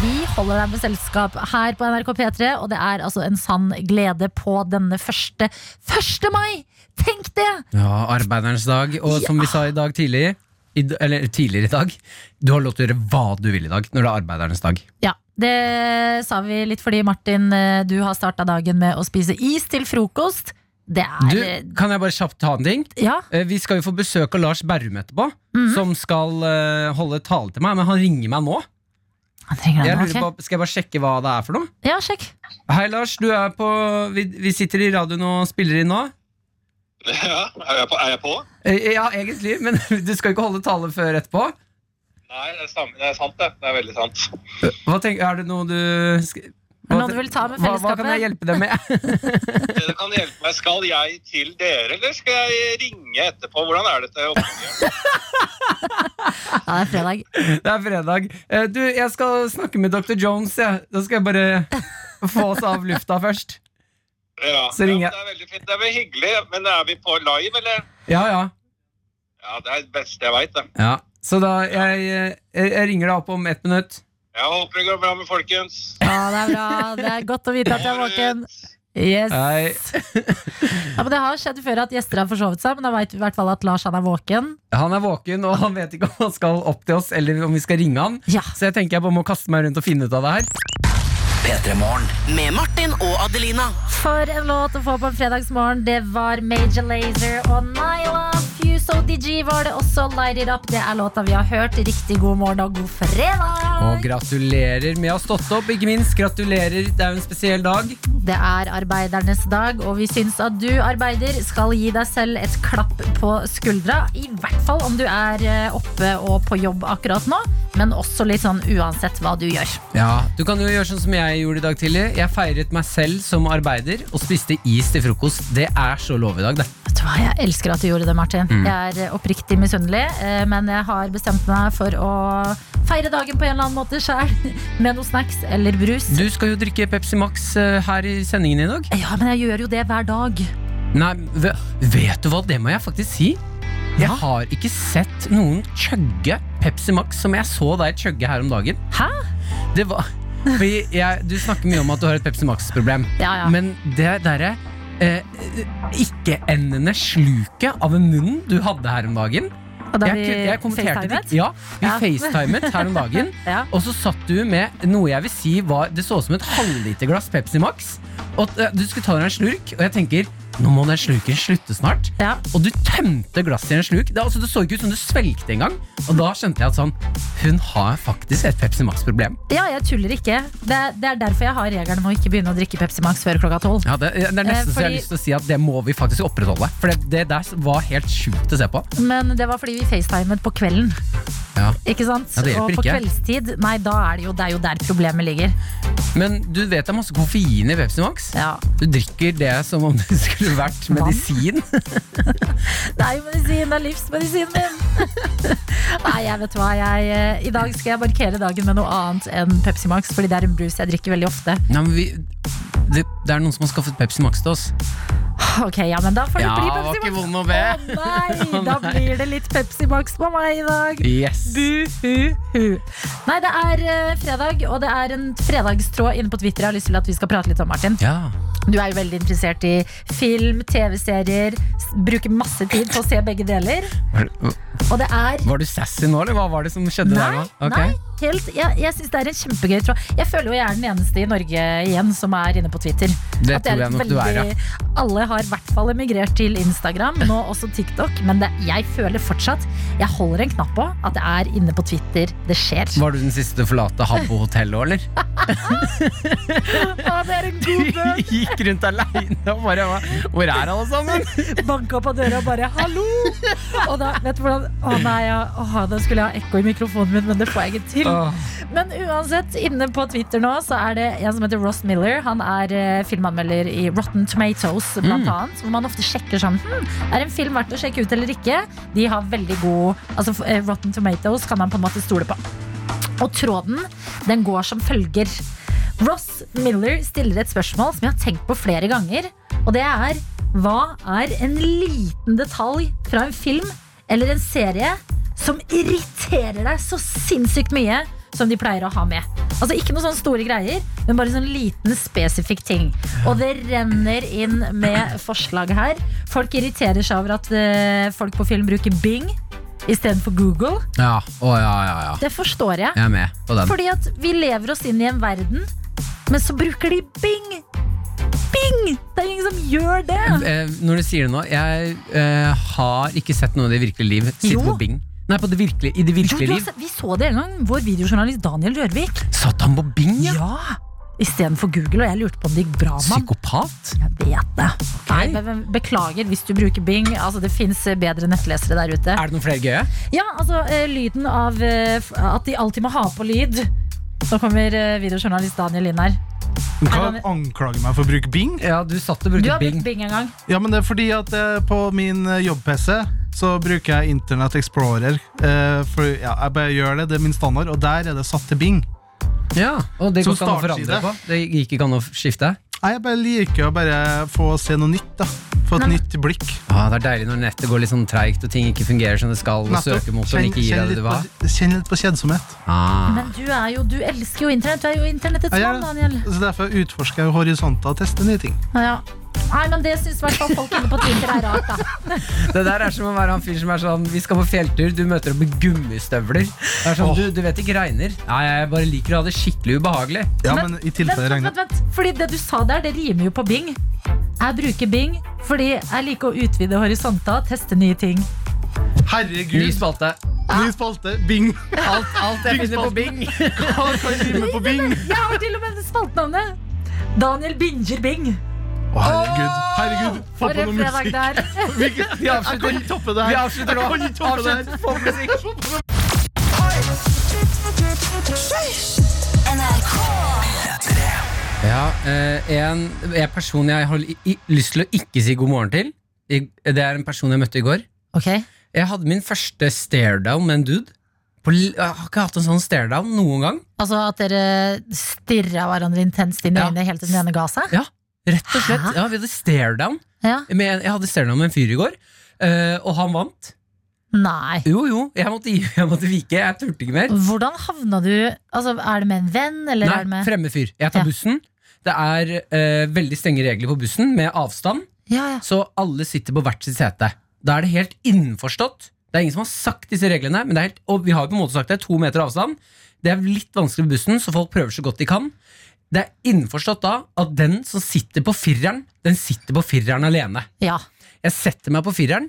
[SPEAKER 3] Vi holder deg med selskap her på NRK P3, og det er altså en sann glede på denne første 1. mai! Tenk det!
[SPEAKER 4] Ja, arbeiderens dag. Og som vi sa i dag tidlig, i, d- eller tidligere i dag, du har lov til å gjøre hva du vil i dag når det er arbeidernes dag.
[SPEAKER 3] Ja, det sa vi litt fordi Martin, eh, du har starta dagen med å spise is til frokost. Det er
[SPEAKER 4] Du,
[SPEAKER 3] eh,
[SPEAKER 4] kan jeg bare kjapt ta en ting?
[SPEAKER 3] Ja.
[SPEAKER 4] Eh, Vi skal jo få besøk av Lars Berrum etterpå,
[SPEAKER 3] Mhm.
[SPEAKER 4] som skal eh, holde tale til meg. Men han ringer meg nå.
[SPEAKER 3] Han trenger
[SPEAKER 4] Jeg
[SPEAKER 3] den,
[SPEAKER 4] lurer
[SPEAKER 3] ok.
[SPEAKER 4] på, skal jeg bare sjekke hva det er for noe?
[SPEAKER 3] Ja, sjekk.
[SPEAKER 4] Hei, Lars. Du er på, vi, vi sitter i radioen og spiller inn nå.
[SPEAKER 7] Ja, er jeg på? Er jeg på?
[SPEAKER 4] Eh, Ja, egentlig, men du skal jo ikke holde tale før etterpå.
[SPEAKER 7] Nei, det er, samme, det er sant det. Det er veldig sant.
[SPEAKER 4] Hva tenker, er det noe du sk-
[SPEAKER 3] Er det noe du vil ta med
[SPEAKER 4] hva, hva kan
[SPEAKER 3] fellesskapet?
[SPEAKER 4] jeg hjelpe deg med?
[SPEAKER 7] Dere Eh, kan hjelpe meg. Skal jeg til dere, eller skal jeg ringe etterpå? Hvordan er dette? opplegget?
[SPEAKER 3] Ja, det er fredag.
[SPEAKER 4] Det er fredag. Eh, Du, jeg skal snakke med Dr. Jones, jeg. Da skal jeg bare få oss av lufta først.
[SPEAKER 7] Ja,
[SPEAKER 4] Så ringer jeg.
[SPEAKER 7] Ja, det er veldig fint. Det er vel hyggelig. Men er vi på live, eller?
[SPEAKER 4] Ja, ja.
[SPEAKER 7] Ja, det er det beste jeg veit, det.
[SPEAKER 4] ja. Så da, jeg, jeg, jeg ringer deg opp om ett minutt.
[SPEAKER 7] Jeg håper det går bra med folkens.
[SPEAKER 3] Ja, det er bra. Det er godt å vite at jeg er våken. Yes.
[SPEAKER 4] Hei.
[SPEAKER 3] Ja, men det har skjedd før at gjester har forsovet seg, men da veit vi i hvert fall at Lars han er våken.
[SPEAKER 4] Han er våken, og han vet ikke om han skal opp til oss, eller om vi skal ringe han.
[SPEAKER 3] Ja.
[SPEAKER 4] Så jeg tenker jeg bare må kaste meg rundt og finne ut av det her.
[SPEAKER 2] Med Martin og Adelina.
[SPEAKER 3] For en låt å få på en fredagsmorgen. Det var Major Lazer og Nyla. Fuse ODG var det også. Light It Up. Det er låta vi har hørt. Riktig god morgen og god
[SPEAKER 4] Og
[SPEAKER 3] fredag.
[SPEAKER 4] gratulerer med å ha stått opp, ikke minst. Gratulerer, det er jo en spesiell dag.
[SPEAKER 3] Det er arbeidernes dag, og vi syns at du arbeider skal gi deg selv et klapp på skuldra. I hvert fall om du er eh, oppe og på jobb akkurat nå, men også litt sånn uansett hva du gjør.
[SPEAKER 4] Ja, Du kan jo gjøre sånn som jeg gjorde i dag tidlig. Jeg feiret meg selv som arbeider og spiste is til frokost. Det er så lov i dag, det.
[SPEAKER 3] Vet du hva, Jeg elsker at du gjorde det, Martin.
[SPEAKER 4] Mm.
[SPEAKER 3] Jeg er oppriktig misunnelig, eh, men jeg har bestemt meg for å feire dagen på en eller annen måte sjøl. Med noe snacks eller brus.
[SPEAKER 4] Du skal jo drikke Pepsi Max eh, her i sendingen i dag.
[SPEAKER 3] Ja, men jeg gjør jo det hver dag.
[SPEAKER 4] Nei, ve- vet du hva, det må jeg faktisk si. Jeg har ikke sett noen chugge Pepsi Max som jeg så deg chugge her om dagen.
[SPEAKER 3] Hæ?
[SPEAKER 4] Det var fordi jeg, Du snakker mye om at du har et Pepsi Max-problem.
[SPEAKER 3] Ja, ja.
[SPEAKER 4] Men det derre eh, ikke-endende sluket av en munn du hadde her om dagen
[SPEAKER 3] Og da
[SPEAKER 4] jeg,
[SPEAKER 3] vi
[SPEAKER 4] ku- jeg kommenterte det.
[SPEAKER 3] facetimet.
[SPEAKER 4] Ja, vi
[SPEAKER 3] Ja.
[SPEAKER 4] facetimet her om dagen.
[SPEAKER 3] Ja.
[SPEAKER 4] Og så satt du med noe jeg vil si var Det så ut som et halvliterglass Pepsi Max. Og at, eh, du skulle ta deg en slurk, og jeg tenker nå må den slurken slutte snart.
[SPEAKER 3] Ja.
[SPEAKER 4] Og du tømte glasset i en slurk. Det, altså, det så ikke ut som du svelgte engang. Og da skjønte jeg at sånn Hun har faktisk et Pepsi Max-problem.
[SPEAKER 3] ja, jeg tuller ikke. Det, det er derfor jeg har regelen om å ikke begynne å drikke Pepsi Max før klokka tolv.
[SPEAKER 4] Ja, det, det er nesten
[SPEAKER 3] Eh,
[SPEAKER 4] så jeg har
[SPEAKER 3] fordi-
[SPEAKER 4] lyst til å si at det må vi faktisk opprettholde. For det, det der var helt sjukt å se på.
[SPEAKER 3] Men det var fordi vi facetimet på kvelden.
[SPEAKER 4] Ja.
[SPEAKER 3] Ikke sant?
[SPEAKER 4] Ja, det hjelper
[SPEAKER 3] og på
[SPEAKER 4] ikke.
[SPEAKER 3] kveldstid, nei, da er det, jo, det er jo der problemet ligger.
[SPEAKER 4] Men du vet det er masse koffein i Pepsi Max.
[SPEAKER 3] Ja.
[SPEAKER 4] Du drikker det som om det skulle vært
[SPEAKER 3] Vann.
[SPEAKER 4] medisin.
[SPEAKER 3] Det er jo medisin, det er livsmedisinen min! Nei, jeg vet hva. Jeg, eh, I dag skal jeg markere dagen med noe annet enn Pepsi Max, fordi det er en brus jeg drikker veldig ofte.
[SPEAKER 4] Nei, men vi, det, det er noen som har skaffet Pepsi Max til oss.
[SPEAKER 3] Ok, ja, men da får det
[SPEAKER 4] Ja,
[SPEAKER 3] bli
[SPEAKER 4] var
[SPEAKER 3] Pepsi Max.
[SPEAKER 4] ikke vond å be.
[SPEAKER 3] Å nei, da
[SPEAKER 4] Å nei.
[SPEAKER 3] blir det litt Pepsi Max på meg i dag.
[SPEAKER 4] Yes.
[SPEAKER 3] Buhuhu. Nei, det er eh, fredag, og det er en fredagstråd inne på Twitter jeg har lyst til at vi skal prate litt om, Martin.
[SPEAKER 4] Ja.
[SPEAKER 3] Du er jo veldig interessert i film, TV-serier, s- bruker masse tid på å se begge deler.
[SPEAKER 4] Var,
[SPEAKER 3] Og det er
[SPEAKER 4] var du sassy nå, eller hva var det som skjedde der?
[SPEAKER 3] Nei,
[SPEAKER 4] nå? Ok.
[SPEAKER 3] nei helt, jeg, jeg synes det er en kjempegøy tråd. Jeg føler jo jeg er den eneste i Norge igjen som er inne på Twitter.
[SPEAKER 4] Det
[SPEAKER 3] At
[SPEAKER 4] tror
[SPEAKER 3] er
[SPEAKER 4] jeg nok
[SPEAKER 3] et
[SPEAKER 4] du er, ja.
[SPEAKER 3] Alle har i hvert fall emigrert til Instagram, nå også TikTok. Men det, jeg føler fortsatt Jeg holder en knapp på at det er inne på Twitter det skjer.
[SPEAKER 4] Var du den siste til å forlate Habbo hotell òg, eller?
[SPEAKER 3] Ja, det er en god bønn!
[SPEAKER 4] Gikk rundt aleine og bare "Hva- Hvor er alle sammen?
[SPEAKER 3] Banka på døra og bare 'hallo'! Og da, vet du hvordan Å nei, ja, åh, da skulle jeg ha ekko i mikrofonen min, men det får jeg ikke til. Men uansett, inne på Twitter nå så er det en som heter Ross Miller. Han er eh, filmanmelder i Rotten Tomatoes, blant annet. Hvor man ofte sjekker sånn hm, Er en film verdt å sjekke ut eller ikke? De har veldig god Altså f- eh, Rotten Tomatoes kan man på en måte stole på. Og tråden, den går som følger. Ross Miller stiller et spørsmål som jeg har tenkt på flere ganger. Og det er hva er en liten detalj fra en film eller en serie som irriterer deg så sinnssykt mye som de pleier å ha med? Altså Ikke noe sånne store greier, men bare sånn liten, spesifikk ting. Og det renner inn med forslag her. Folk irriterer seg over at eh, folk på film bruker Bing istedenfor Google.
[SPEAKER 4] Ja, å ja, ja, ja.
[SPEAKER 3] Det forstår jeg.
[SPEAKER 4] Jeg er med på den.
[SPEAKER 3] Fordi at vi lever oss inn i en verden, men så bruker de bing! Bing! Det er jo ingen som gjør det.
[SPEAKER 4] Eh, når du sier det nå, jeg eh, har ikke sett noe i det virkelige liv. Sitte
[SPEAKER 3] Jo.
[SPEAKER 4] på Bing. Nei, på det virkelige, i
[SPEAKER 3] Jo,
[SPEAKER 4] det
[SPEAKER 3] du
[SPEAKER 4] virkelige
[SPEAKER 3] har
[SPEAKER 4] liv.
[SPEAKER 3] sett- vi så det en gang. Vår videojournalist Daniel Rørvik.
[SPEAKER 4] Satt han på Bing, ja?
[SPEAKER 3] Ja! Istedenfor Google, og jeg lurte på om det gikk bra med ham.
[SPEAKER 4] Psykopat?
[SPEAKER 3] Jeg vet det. Nei, men Beklager hvis du bruker Bing. Altså, det fins bedre nettlesere der ute.
[SPEAKER 4] Er det noen flere gøye?
[SPEAKER 3] Ja, altså eh, lyden av eh, f- At de alltid må ha på lyd. Nå kommer eh, videojournalist Daniel inn her.
[SPEAKER 8] Du kan anklage meg for å bruke Bing.
[SPEAKER 4] Ja, du satt og
[SPEAKER 3] Du
[SPEAKER 4] brukte
[SPEAKER 3] har
[SPEAKER 4] Bing.
[SPEAKER 3] brukt Bing en gang.
[SPEAKER 8] Ja, men det er fordi at eh, på min eh, jobb-PC så bruker jeg Internet Explorer. eh, For ja, jeg bare gjør det, det er min standard, og der er det satt til Bing.
[SPEAKER 4] Ja, og det
[SPEAKER 8] Som
[SPEAKER 4] går ikke an å forandre
[SPEAKER 8] startside.
[SPEAKER 4] på. Det gikk ikke an å skifte.
[SPEAKER 8] Nei, jeg bare liker å bare få se noe nytt, da. Få et
[SPEAKER 3] Nei, men-
[SPEAKER 8] nytt blikk.
[SPEAKER 4] Ah, det er deilig når nettet går litt sånn treigt og ting ikke fungerer som det skal. Og
[SPEAKER 8] Nettopp.
[SPEAKER 4] søkemotoren ikke gir deg det
[SPEAKER 8] litt
[SPEAKER 4] du vil ha.
[SPEAKER 8] på, kjenn litt på kjedsomhet.
[SPEAKER 4] Ah.
[SPEAKER 3] Men du er jo, du elsker jo internett. Du er jo internettets
[SPEAKER 8] Ja,
[SPEAKER 3] mann,
[SPEAKER 8] ja.
[SPEAKER 3] Sånn, Daniel.
[SPEAKER 8] Så derfor utforsker jeg horisonter og tester nye ting.
[SPEAKER 3] Ja. Nei, men det syns i hvert fall folk inne på Twitter er rart, da.
[SPEAKER 4] Det der er som å være han fyren som er sånn Vi skal på fjelltur, du møter opp med gummistøvler. Det er sånn, du, du vet ikke regner. Nei, jeg bare liker å ha det skikkelig ubehagelig.
[SPEAKER 8] Ja,
[SPEAKER 3] Men-
[SPEAKER 8] men, i tilfelle
[SPEAKER 3] vent,
[SPEAKER 8] det regner.
[SPEAKER 3] vent, vent. Fordi det du sa der, det rimer jo på Bing. Jeg bruker Bing fordi jeg liker å utvide horisonter, teste nye ting.
[SPEAKER 4] Ny
[SPEAKER 8] Herregud,
[SPEAKER 4] spalte.
[SPEAKER 8] ny spalte. Bing!
[SPEAKER 4] Alt, alt jeg finner på Bing.
[SPEAKER 8] Hva kan rime på Bing?
[SPEAKER 3] Jeg har til og med spaltenavnet! Daniel binger Bing.
[SPEAKER 8] Å, herregud. herregud, få
[SPEAKER 3] For
[SPEAKER 8] på
[SPEAKER 3] en
[SPEAKER 8] noe
[SPEAKER 3] fredag
[SPEAKER 8] musikk.
[SPEAKER 3] der.
[SPEAKER 8] Hvilke-
[SPEAKER 4] Vi
[SPEAKER 8] Jeg
[SPEAKER 4] avslutter,
[SPEAKER 8] kan ikke toppe det
[SPEAKER 4] vi
[SPEAKER 8] her.
[SPEAKER 4] avslutter nå.
[SPEAKER 8] Jeg kan ikke toppe det her.
[SPEAKER 4] Avslutt. Få musikk. Ja, eh, en, en person jeg har i, i, lyst til å ikke si god morgen til, i, det er en person jeg møtte i går.
[SPEAKER 3] Ok,
[SPEAKER 4] Jeg hadde min første staredown med en dude. På, l- jeg har ikke hatt en sånn staredown noen gang.
[SPEAKER 3] Altså at dere stirra hverandre intenst inn i
[SPEAKER 4] Ja.
[SPEAKER 3] øynene helt til den ene ga seg?
[SPEAKER 4] Ja, rett og slett.
[SPEAKER 3] Hæ?
[SPEAKER 4] Ja, vi hadde staredown.
[SPEAKER 3] Ja.
[SPEAKER 4] med en- Jeg hadde staredown med en fyr i går, eh, og han vant.
[SPEAKER 3] Nei.
[SPEAKER 4] Jo, jo, jeg måtte, gi- jeg måtte vike. Jeg turte ikke mer.
[SPEAKER 3] Hvordan havna du Altså, Er det med en venn, eller er det
[SPEAKER 4] Nei,
[SPEAKER 3] med
[SPEAKER 4] fremme fyr. Jeg tar
[SPEAKER 3] Ja.
[SPEAKER 4] bussen. Det er eh, veldig strenge regler på bussen med avstand.
[SPEAKER 3] Ja, ja.
[SPEAKER 4] Så alle sitter på hvert sitt sete. Da er det helt innforstått. Det er ingen som har sagt disse reglene, men det er helt, og vi har jo på en måte sagt det er to meter avstand. Det er litt vanskelig med bussen, så folk prøver så godt de kan. Det er innforstått da at den som sitter på fireren, den sitter på fireren alene.
[SPEAKER 3] ja.
[SPEAKER 4] Jeg setter meg på fireren,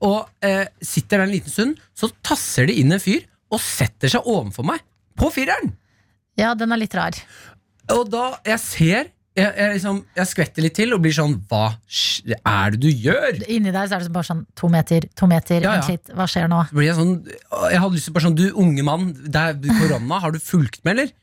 [SPEAKER 4] og eh, sitter der en liten stund, så tasser det inn en fyr og setter seg ovenfor meg på fireren.
[SPEAKER 3] Ja, den er litt rar.
[SPEAKER 4] Og da jeg ser jeg, jeg, liksom, jeg skvetter litt til og blir sånn Hva sk- er det du gjør?
[SPEAKER 3] Inni der så er det bare sånn to meter, to meter,
[SPEAKER 4] Ja, ja.
[SPEAKER 3] vent litt, hva skjer nå?
[SPEAKER 4] blir jeg sånn Jeg hadde lyst til å bare sånn Du unge mann, det er korona, har du fulgt med, eller?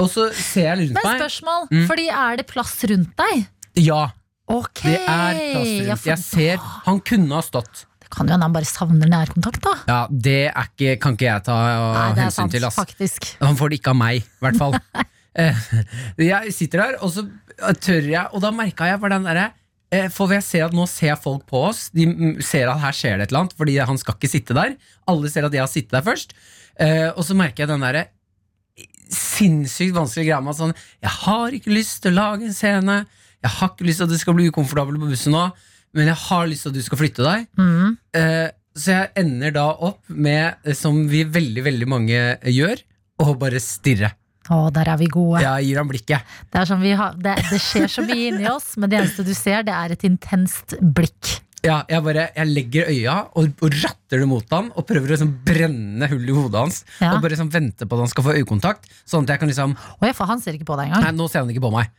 [SPEAKER 4] Og så ser jeg
[SPEAKER 3] Det
[SPEAKER 4] rundt
[SPEAKER 3] er
[SPEAKER 4] meg.
[SPEAKER 3] spørsmål,
[SPEAKER 4] Mm.
[SPEAKER 3] fordi er det plass rundt deg?
[SPEAKER 4] Ja,
[SPEAKER 3] Ok!
[SPEAKER 4] det er plass
[SPEAKER 3] Ja,
[SPEAKER 4] rundt.
[SPEAKER 3] for
[SPEAKER 4] Jeg ser Han kunne ha stått.
[SPEAKER 3] Det kan jo hende han bare savner nærkontakt, da.
[SPEAKER 4] Ja, det er ikke, kan ikke jeg ta uh,
[SPEAKER 3] Nei, det er
[SPEAKER 4] hensyn
[SPEAKER 3] sant,
[SPEAKER 4] til, ass.
[SPEAKER 3] faktisk.
[SPEAKER 4] Han får det ikke av meg, i hvert fall. Eh, jeg sitter der, og så tør jeg Og da merka jeg bare den derre eh, For jeg ser at nå ser folk på oss, de mm, ser at her skjer det et eller annet, fordi han skal ikke sitte der. Alle ser at jeg har sittet der først. Eh, Og så merker jeg den derre sinnssykt vanskelig greia med at sånn Jeg har ikke lyst til å lage en scene. Jeg har ikke lyst til at det skal bli ukomfortabelt på bussen nå, men jeg har lyst til at du skal flytte deg.
[SPEAKER 3] Mm.
[SPEAKER 4] Eh, Så jeg ender da opp med, eh, som vi veldig, veldig mange gjør, å bare stirre.
[SPEAKER 3] Å, der er vi gode.
[SPEAKER 4] Jeg gir ham blikket.
[SPEAKER 3] Det, er sånn vi har, det, det skjer så mye inni oss, men det eneste du ser, det er et intenst blikk.
[SPEAKER 4] Ja, jeg bare jeg legger øya og, og ratter det mot han og prøver å liksom brenne hull i hodet hans.
[SPEAKER 3] Ja.
[SPEAKER 4] Og bare liksom vente på at han skal få øyekontakt. Sånn at jeg kan liksom
[SPEAKER 3] Å ja, for han ser ikke på deg
[SPEAKER 4] Nei,
[SPEAKER 3] engang.
[SPEAKER 4] nå ser han ikke på meg.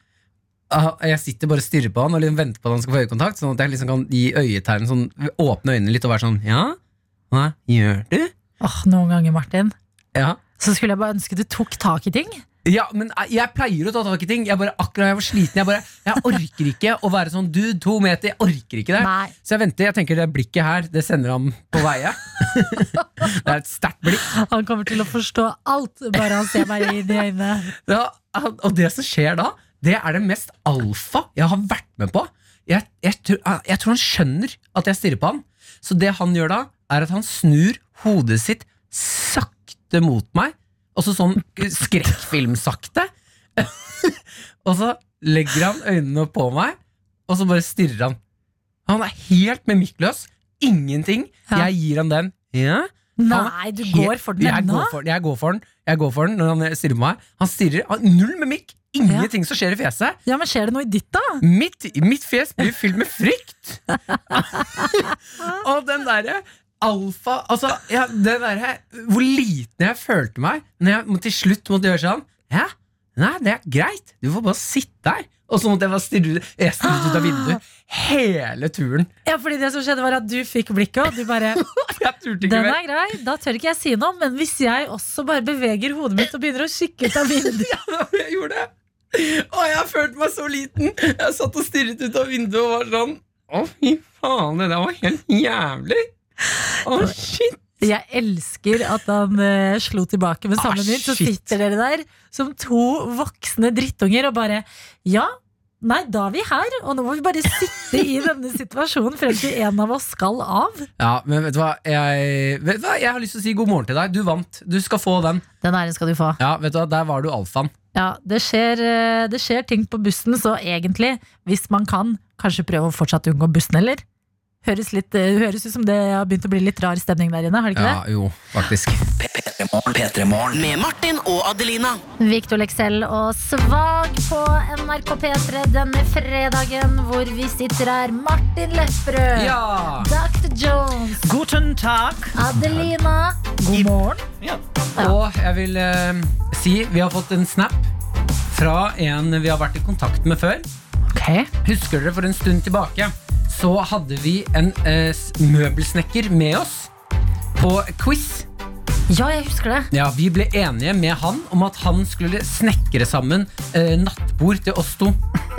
[SPEAKER 4] Ah, Jeg sitter bare og stirrer på han og liksom venter på at han skal få øyekontakt. Sånn at jeg liksom kan gi øyetegn sånn, åpne øynene litt og være sånn Ja, hva gjør du?
[SPEAKER 3] Åh, Noen ganger, Martin,
[SPEAKER 4] Ja.
[SPEAKER 3] så skulle jeg bare ønske du tok tak i ting.
[SPEAKER 4] Ja, men eh, jeg pleier å ta tak i ting. Jeg bare, akkurat jeg var sliten. Jeg bare, jeg orker ikke å være sånn dude, to meter. Jeg orker ikke det.
[SPEAKER 3] Nei.
[SPEAKER 4] Så jeg venter. jeg tenker Det blikket her, det sender ham på veie. det er et sterkt blikk.
[SPEAKER 3] Han kommer til å forstå alt, bare han ser meg inn i øynene.
[SPEAKER 4] Ja, og det som skjer da, det er det mest alfa jeg har vært med på. Jeg, jeg, tror- jeg tror han skjønner at jeg stirrer på han. Så det han gjør da, er at han snur hodet sitt sakte mot meg. Og så sånn skrekkfilmsakte. og så legger han øynene på meg, og så bare stirrer han. Han er helt mimikkløs. Ingenting.
[SPEAKER 3] Ja.
[SPEAKER 4] Jeg gir han den. Ja.
[SPEAKER 3] Nei, du
[SPEAKER 4] Helt-
[SPEAKER 3] går for den
[SPEAKER 4] Jeg
[SPEAKER 3] ennå?
[SPEAKER 4] går for, jeg går for den Jeg går for den når han stirrer på meg. Han stirrer han, Null mimikk! Ingenting som skjer i fjeset.
[SPEAKER 3] Ja, men skjer det noe i ditt, da?
[SPEAKER 4] Mitt, mitt fjes blir fylt med frykt! Og den derre alfa Altså, ja, det derre Hvor liten jeg følte meg når jeg må- til slutt måtte gjøre sånn. Hæ? Nei, det er greit. Du får bare sitte der. Og så måtte jeg bare stirre jeg stirret ut av vinduet hele turen.
[SPEAKER 3] Ja, fordi det som skjedde var at du fikk blikket, og du bare
[SPEAKER 4] Jeg turte ikke
[SPEAKER 3] Den
[SPEAKER 4] mer.
[SPEAKER 3] er grei, da tør ikke jeg si noe, men hvis jeg også bare beveger hodet mitt og begynner å kikke ut av vinduet
[SPEAKER 4] Jeg gjorde det. Og jeg har følt meg så liten. Jeg satt og stirret ut av vinduet og var sånn Å, fy faen, det der var helt jævlig. Å, shit.
[SPEAKER 3] Jeg elsker at han eh, slo tilbake med samme
[SPEAKER 4] Ah,
[SPEAKER 3] mynt, så
[SPEAKER 4] shit.
[SPEAKER 3] sitter dere der som to voksne drittunger og bare Ja, nei, da er vi her, og nå må vi bare sitte i denne situasjonen frem til en av oss skal av.
[SPEAKER 4] Ja, men vet du hva? Jeg, vet du hva? jeg har lyst til å si god morgen til deg. Du vant. Du skal få den.
[SPEAKER 3] Den æren skal du få.
[SPEAKER 4] Ja, vet du hva? Der var du alfaen.
[SPEAKER 3] Ja, det skjer, eh, det skjer ting på bussen, så egentlig, hvis man kan, kanskje prøve å fortsatt unngå bussen, eller? Høres, litt, eh, høres ut som det har begynt å bli litt rar stemning der inne, har det ikke det?
[SPEAKER 4] jo, faktisk.
[SPEAKER 1] P3morgen.
[SPEAKER 2] Med Martin og Adelina.
[SPEAKER 3] Victor Lexell og Svag på NRK P3 denne fredagen, hvor vi sitter her. Martin Lepperød,
[SPEAKER 4] Ja!
[SPEAKER 3] Dr. Jones,
[SPEAKER 5] Guten Tag.
[SPEAKER 3] Adelina. God morgen.
[SPEAKER 4] Og jeg vil eh, si vi har fått en snap fra en vi har vært i kontakt med før.
[SPEAKER 3] Ok.
[SPEAKER 4] Husker dere for en stund tilbake Så hadde vi en eh, s- møbelsnekker med oss På quiz
[SPEAKER 3] Ja, jeg husker det.
[SPEAKER 4] Ja, vi ble enige med han Om at han skulle snekre sammen eh, Nattbord til oss to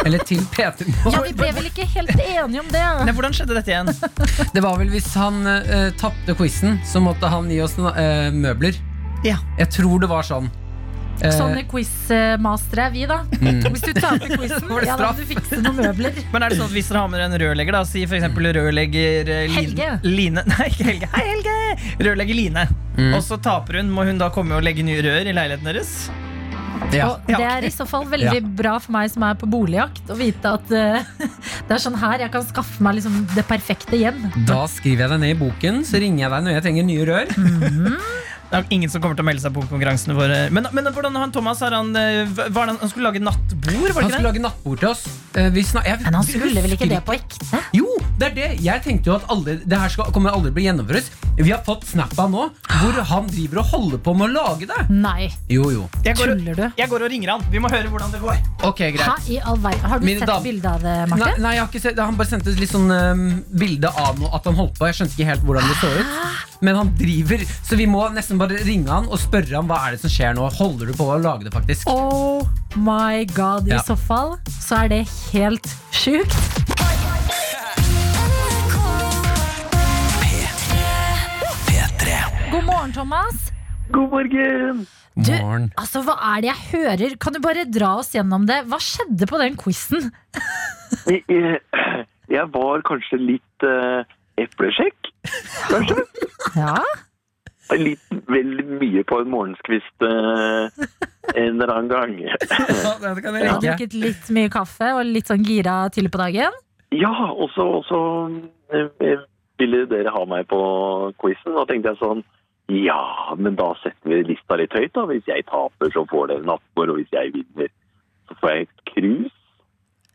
[SPEAKER 4] Eller til Peter
[SPEAKER 3] Ja, Vi ble vel ikke helt enige om det?
[SPEAKER 5] Nei, hvordan skjedde dette igjen?
[SPEAKER 4] Det var vel hvis han eh, tappte quizen Så måtte han gi oss na- eh, møbler
[SPEAKER 5] Ja.
[SPEAKER 4] Jeg tror det var sånn Eh,
[SPEAKER 3] Sånne quizmastere er vi, da. Hvis du taper quizen,
[SPEAKER 4] Var det
[SPEAKER 3] ja, da
[SPEAKER 4] straff?
[SPEAKER 3] må du fikse noen møbler.
[SPEAKER 5] Men er det sånn at hvis dere har med dere en rørlegger, da, si for eksempel rørlegger eh, Lin-
[SPEAKER 3] Helge.
[SPEAKER 5] Line Nei, ikke Helge. Hei, Helge! Rørlegger Line. Og så taper hun. Må hun da komme og legge nye rør i leiligheten deres?
[SPEAKER 4] ja.
[SPEAKER 3] Og det er i så fall veldig bra for meg som er på boligjakt, å vite at eh, det er sånn her jeg kan skaffe meg liksom det perfekte hjem.
[SPEAKER 4] Da skriver jeg deg ned i boken Så ringer jeg deg når jeg trenger nye rør
[SPEAKER 3] Mm.
[SPEAKER 5] Det er ingen som kommer til å melde seg på konkurransene våre. Men, men hvordan har han Thomas? Har han, eh, hva- hva er det han, han skulle lage nattbord, var
[SPEAKER 4] Han
[SPEAKER 5] det
[SPEAKER 4] skulle
[SPEAKER 5] ikke det?
[SPEAKER 4] lage nattbord til oss Eh, vi snak- jeg-
[SPEAKER 3] Men han
[SPEAKER 4] vi
[SPEAKER 3] skulle vel
[SPEAKER 4] husker
[SPEAKER 3] ikke det på ekte?
[SPEAKER 4] Jo, det er det. Jeg tenkte jo at alle, det her skal, kommer aldri bli gjennomført. Vi har fått snappa nå hvor han driver og holder på med å lage det.
[SPEAKER 3] Nei.
[SPEAKER 4] Jo, jo.
[SPEAKER 5] Jeg går, og-
[SPEAKER 3] Tuller du?
[SPEAKER 5] jeg går og ringer han. Vi må høre hvordan det går.
[SPEAKER 4] Ok,
[SPEAKER 3] Hæ,
[SPEAKER 4] greit.
[SPEAKER 3] i all verden? Har du
[SPEAKER 4] Mine
[SPEAKER 3] sett
[SPEAKER 4] dam-
[SPEAKER 3] bilde av det,
[SPEAKER 4] Nei,
[SPEAKER 3] Martin?
[SPEAKER 4] nei, jeg har ikke sett, Han bare sendte et litt sånn ehm, bilde av noe at han holdt på. Jeg skjønte ikke helt hvordan det så ut. Men han driver, så vi må nesten bare ringe han og spørre ham hva er det som skjer nå. Holder du på å lage det, faktisk?
[SPEAKER 3] Oh my god, i
[SPEAKER 4] Ja.
[SPEAKER 3] så fall så er det helt sjukt.
[SPEAKER 1] P3.
[SPEAKER 3] God morgen, Thomas. Du,
[SPEAKER 4] Morgen.
[SPEAKER 3] altså, hva er det jeg hører? Kan du bare dra oss gjennom det? Hva skjedde på den quizen?
[SPEAKER 9] Jeg- Jeg jeg var kanskje litt eh, eplesjekk, kanskje.
[SPEAKER 3] Ja,
[SPEAKER 9] Litt vel mye på en morgenskvist eh, en eller annen gang.
[SPEAKER 4] Ja, det kan jeg
[SPEAKER 3] Du har
[SPEAKER 4] like.
[SPEAKER 3] drukket litt mye kaffe og litt sånn gira til på dagen.
[SPEAKER 9] Ja, og så og så, eh, ville dere ha meg på quizen, og tenkte jeg sånn Ja, men da setter vi lista litt høyt, da. Hvis jeg taper, så får dere nattbord, og hvis jeg vinner, så får jeg et krus.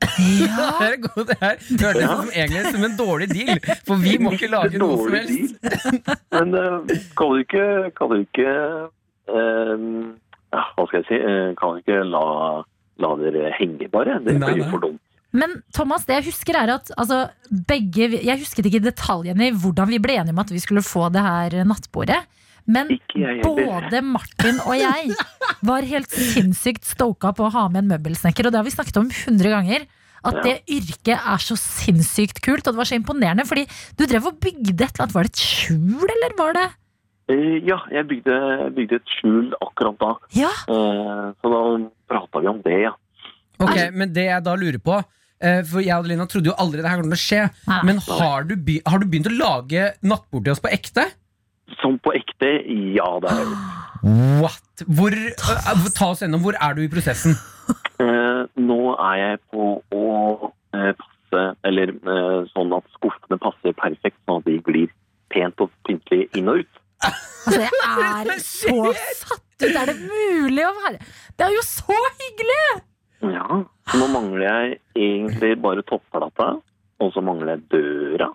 [SPEAKER 4] Det er god, det her hørtes ut som egentlig som en dårlig deal, for vi må ikke lage noe som
[SPEAKER 9] Dårlig
[SPEAKER 4] helst.
[SPEAKER 9] deal. Men eh, kan du ikke, kan du ikke eh, ja, Hva skal jeg si? eh, Kan du ikke la, la dere henge, bare? Det
[SPEAKER 4] Nei,
[SPEAKER 9] blir
[SPEAKER 4] nei.
[SPEAKER 9] for dumt.
[SPEAKER 3] Men Thomas, det jeg husker er at altså, begge vi- Jeg husket ikke detaljene i hvordan vi ble enige om at vi skulle få det her nattbordet. Men
[SPEAKER 9] Ikke jeg heller.
[SPEAKER 3] både Martin og jeg var helt sinnssykt stoka på å ha med en møbelsnekker, og det har vi snakket om 100 ganger. At det yrket er så sinnssykt kult, og det var så imponerende. Fordi du drev og bygde et eller annet. Var det et skjul, eller var det
[SPEAKER 9] Eh, Ja, jeg bygde, jeg bygde et skjul akkurat da.
[SPEAKER 3] Ja!
[SPEAKER 9] Eh, Så da prata vi om det, ja.
[SPEAKER 4] Ok, Men det jeg da lurer på eh, For jeg og Adelina trodde jo aldri det her kom til å skje.
[SPEAKER 3] Nei.
[SPEAKER 4] Men har du, be har du begynt å lage nattbord til oss på ekte?
[SPEAKER 9] Som på ekte, ja det er det.
[SPEAKER 4] What? Hvor, eh, ta oss gjennom, hvor er du i prosessen?
[SPEAKER 9] Eh, Nå er jeg på å eh, passe Eller eh, sånn at skuffene passer perfekt, sånn at de glir pent og pyntelig inn og ut.
[SPEAKER 3] Altså, jeg er så satt ut! Er det mulig å være Det er jo så hyggelig!
[SPEAKER 9] Ja, så nå mangler jeg egentlig bare toppplata, og så mangler jeg døra,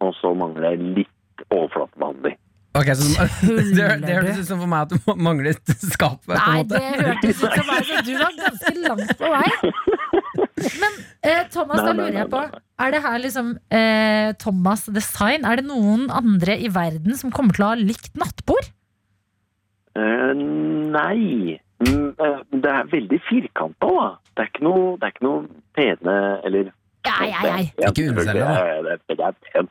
[SPEAKER 9] og så mangler jeg litt overflatebehandling.
[SPEAKER 4] Ok, så
[SPEAKER 3] Tuller
[SPEAKER 4] Det det
[SPEAKER 3] du?
[SPEAKER 4] hørtes ut som for meg at du manglet skapet. på en
[SPEAKER 3] Nei,
[SPEAKER 4] måte.
[SPEAKER 3] det hørtes ut som meg, så du var ganske langt på vei. Men eh, Thomas, da
[SPEAKER 9] Nei, nei,
[SPEAKER 3] lurer jeg
[SPEAKER 9] nei,
[SPEAKER 3] på,
[SPEAKER 9] nei,
[SPEAKER 3] er det her liksom eh, Thomas Design? Er det noen andre i verden som kommer til å ha likt nattbord?
[SPEAKER 9] Eh, nei, Mm, eh, det er veldig firkanta da. Det er ikke noe, det er ikke noe pene, eller...
[SPEAKER 3] Ja, ja, ja.
[SPEAKER 9] Ja,
[SPEAKER 4] Ikke underselge, da.
[SPEAKER 9] selvfølgelig, Det, er- det er pent,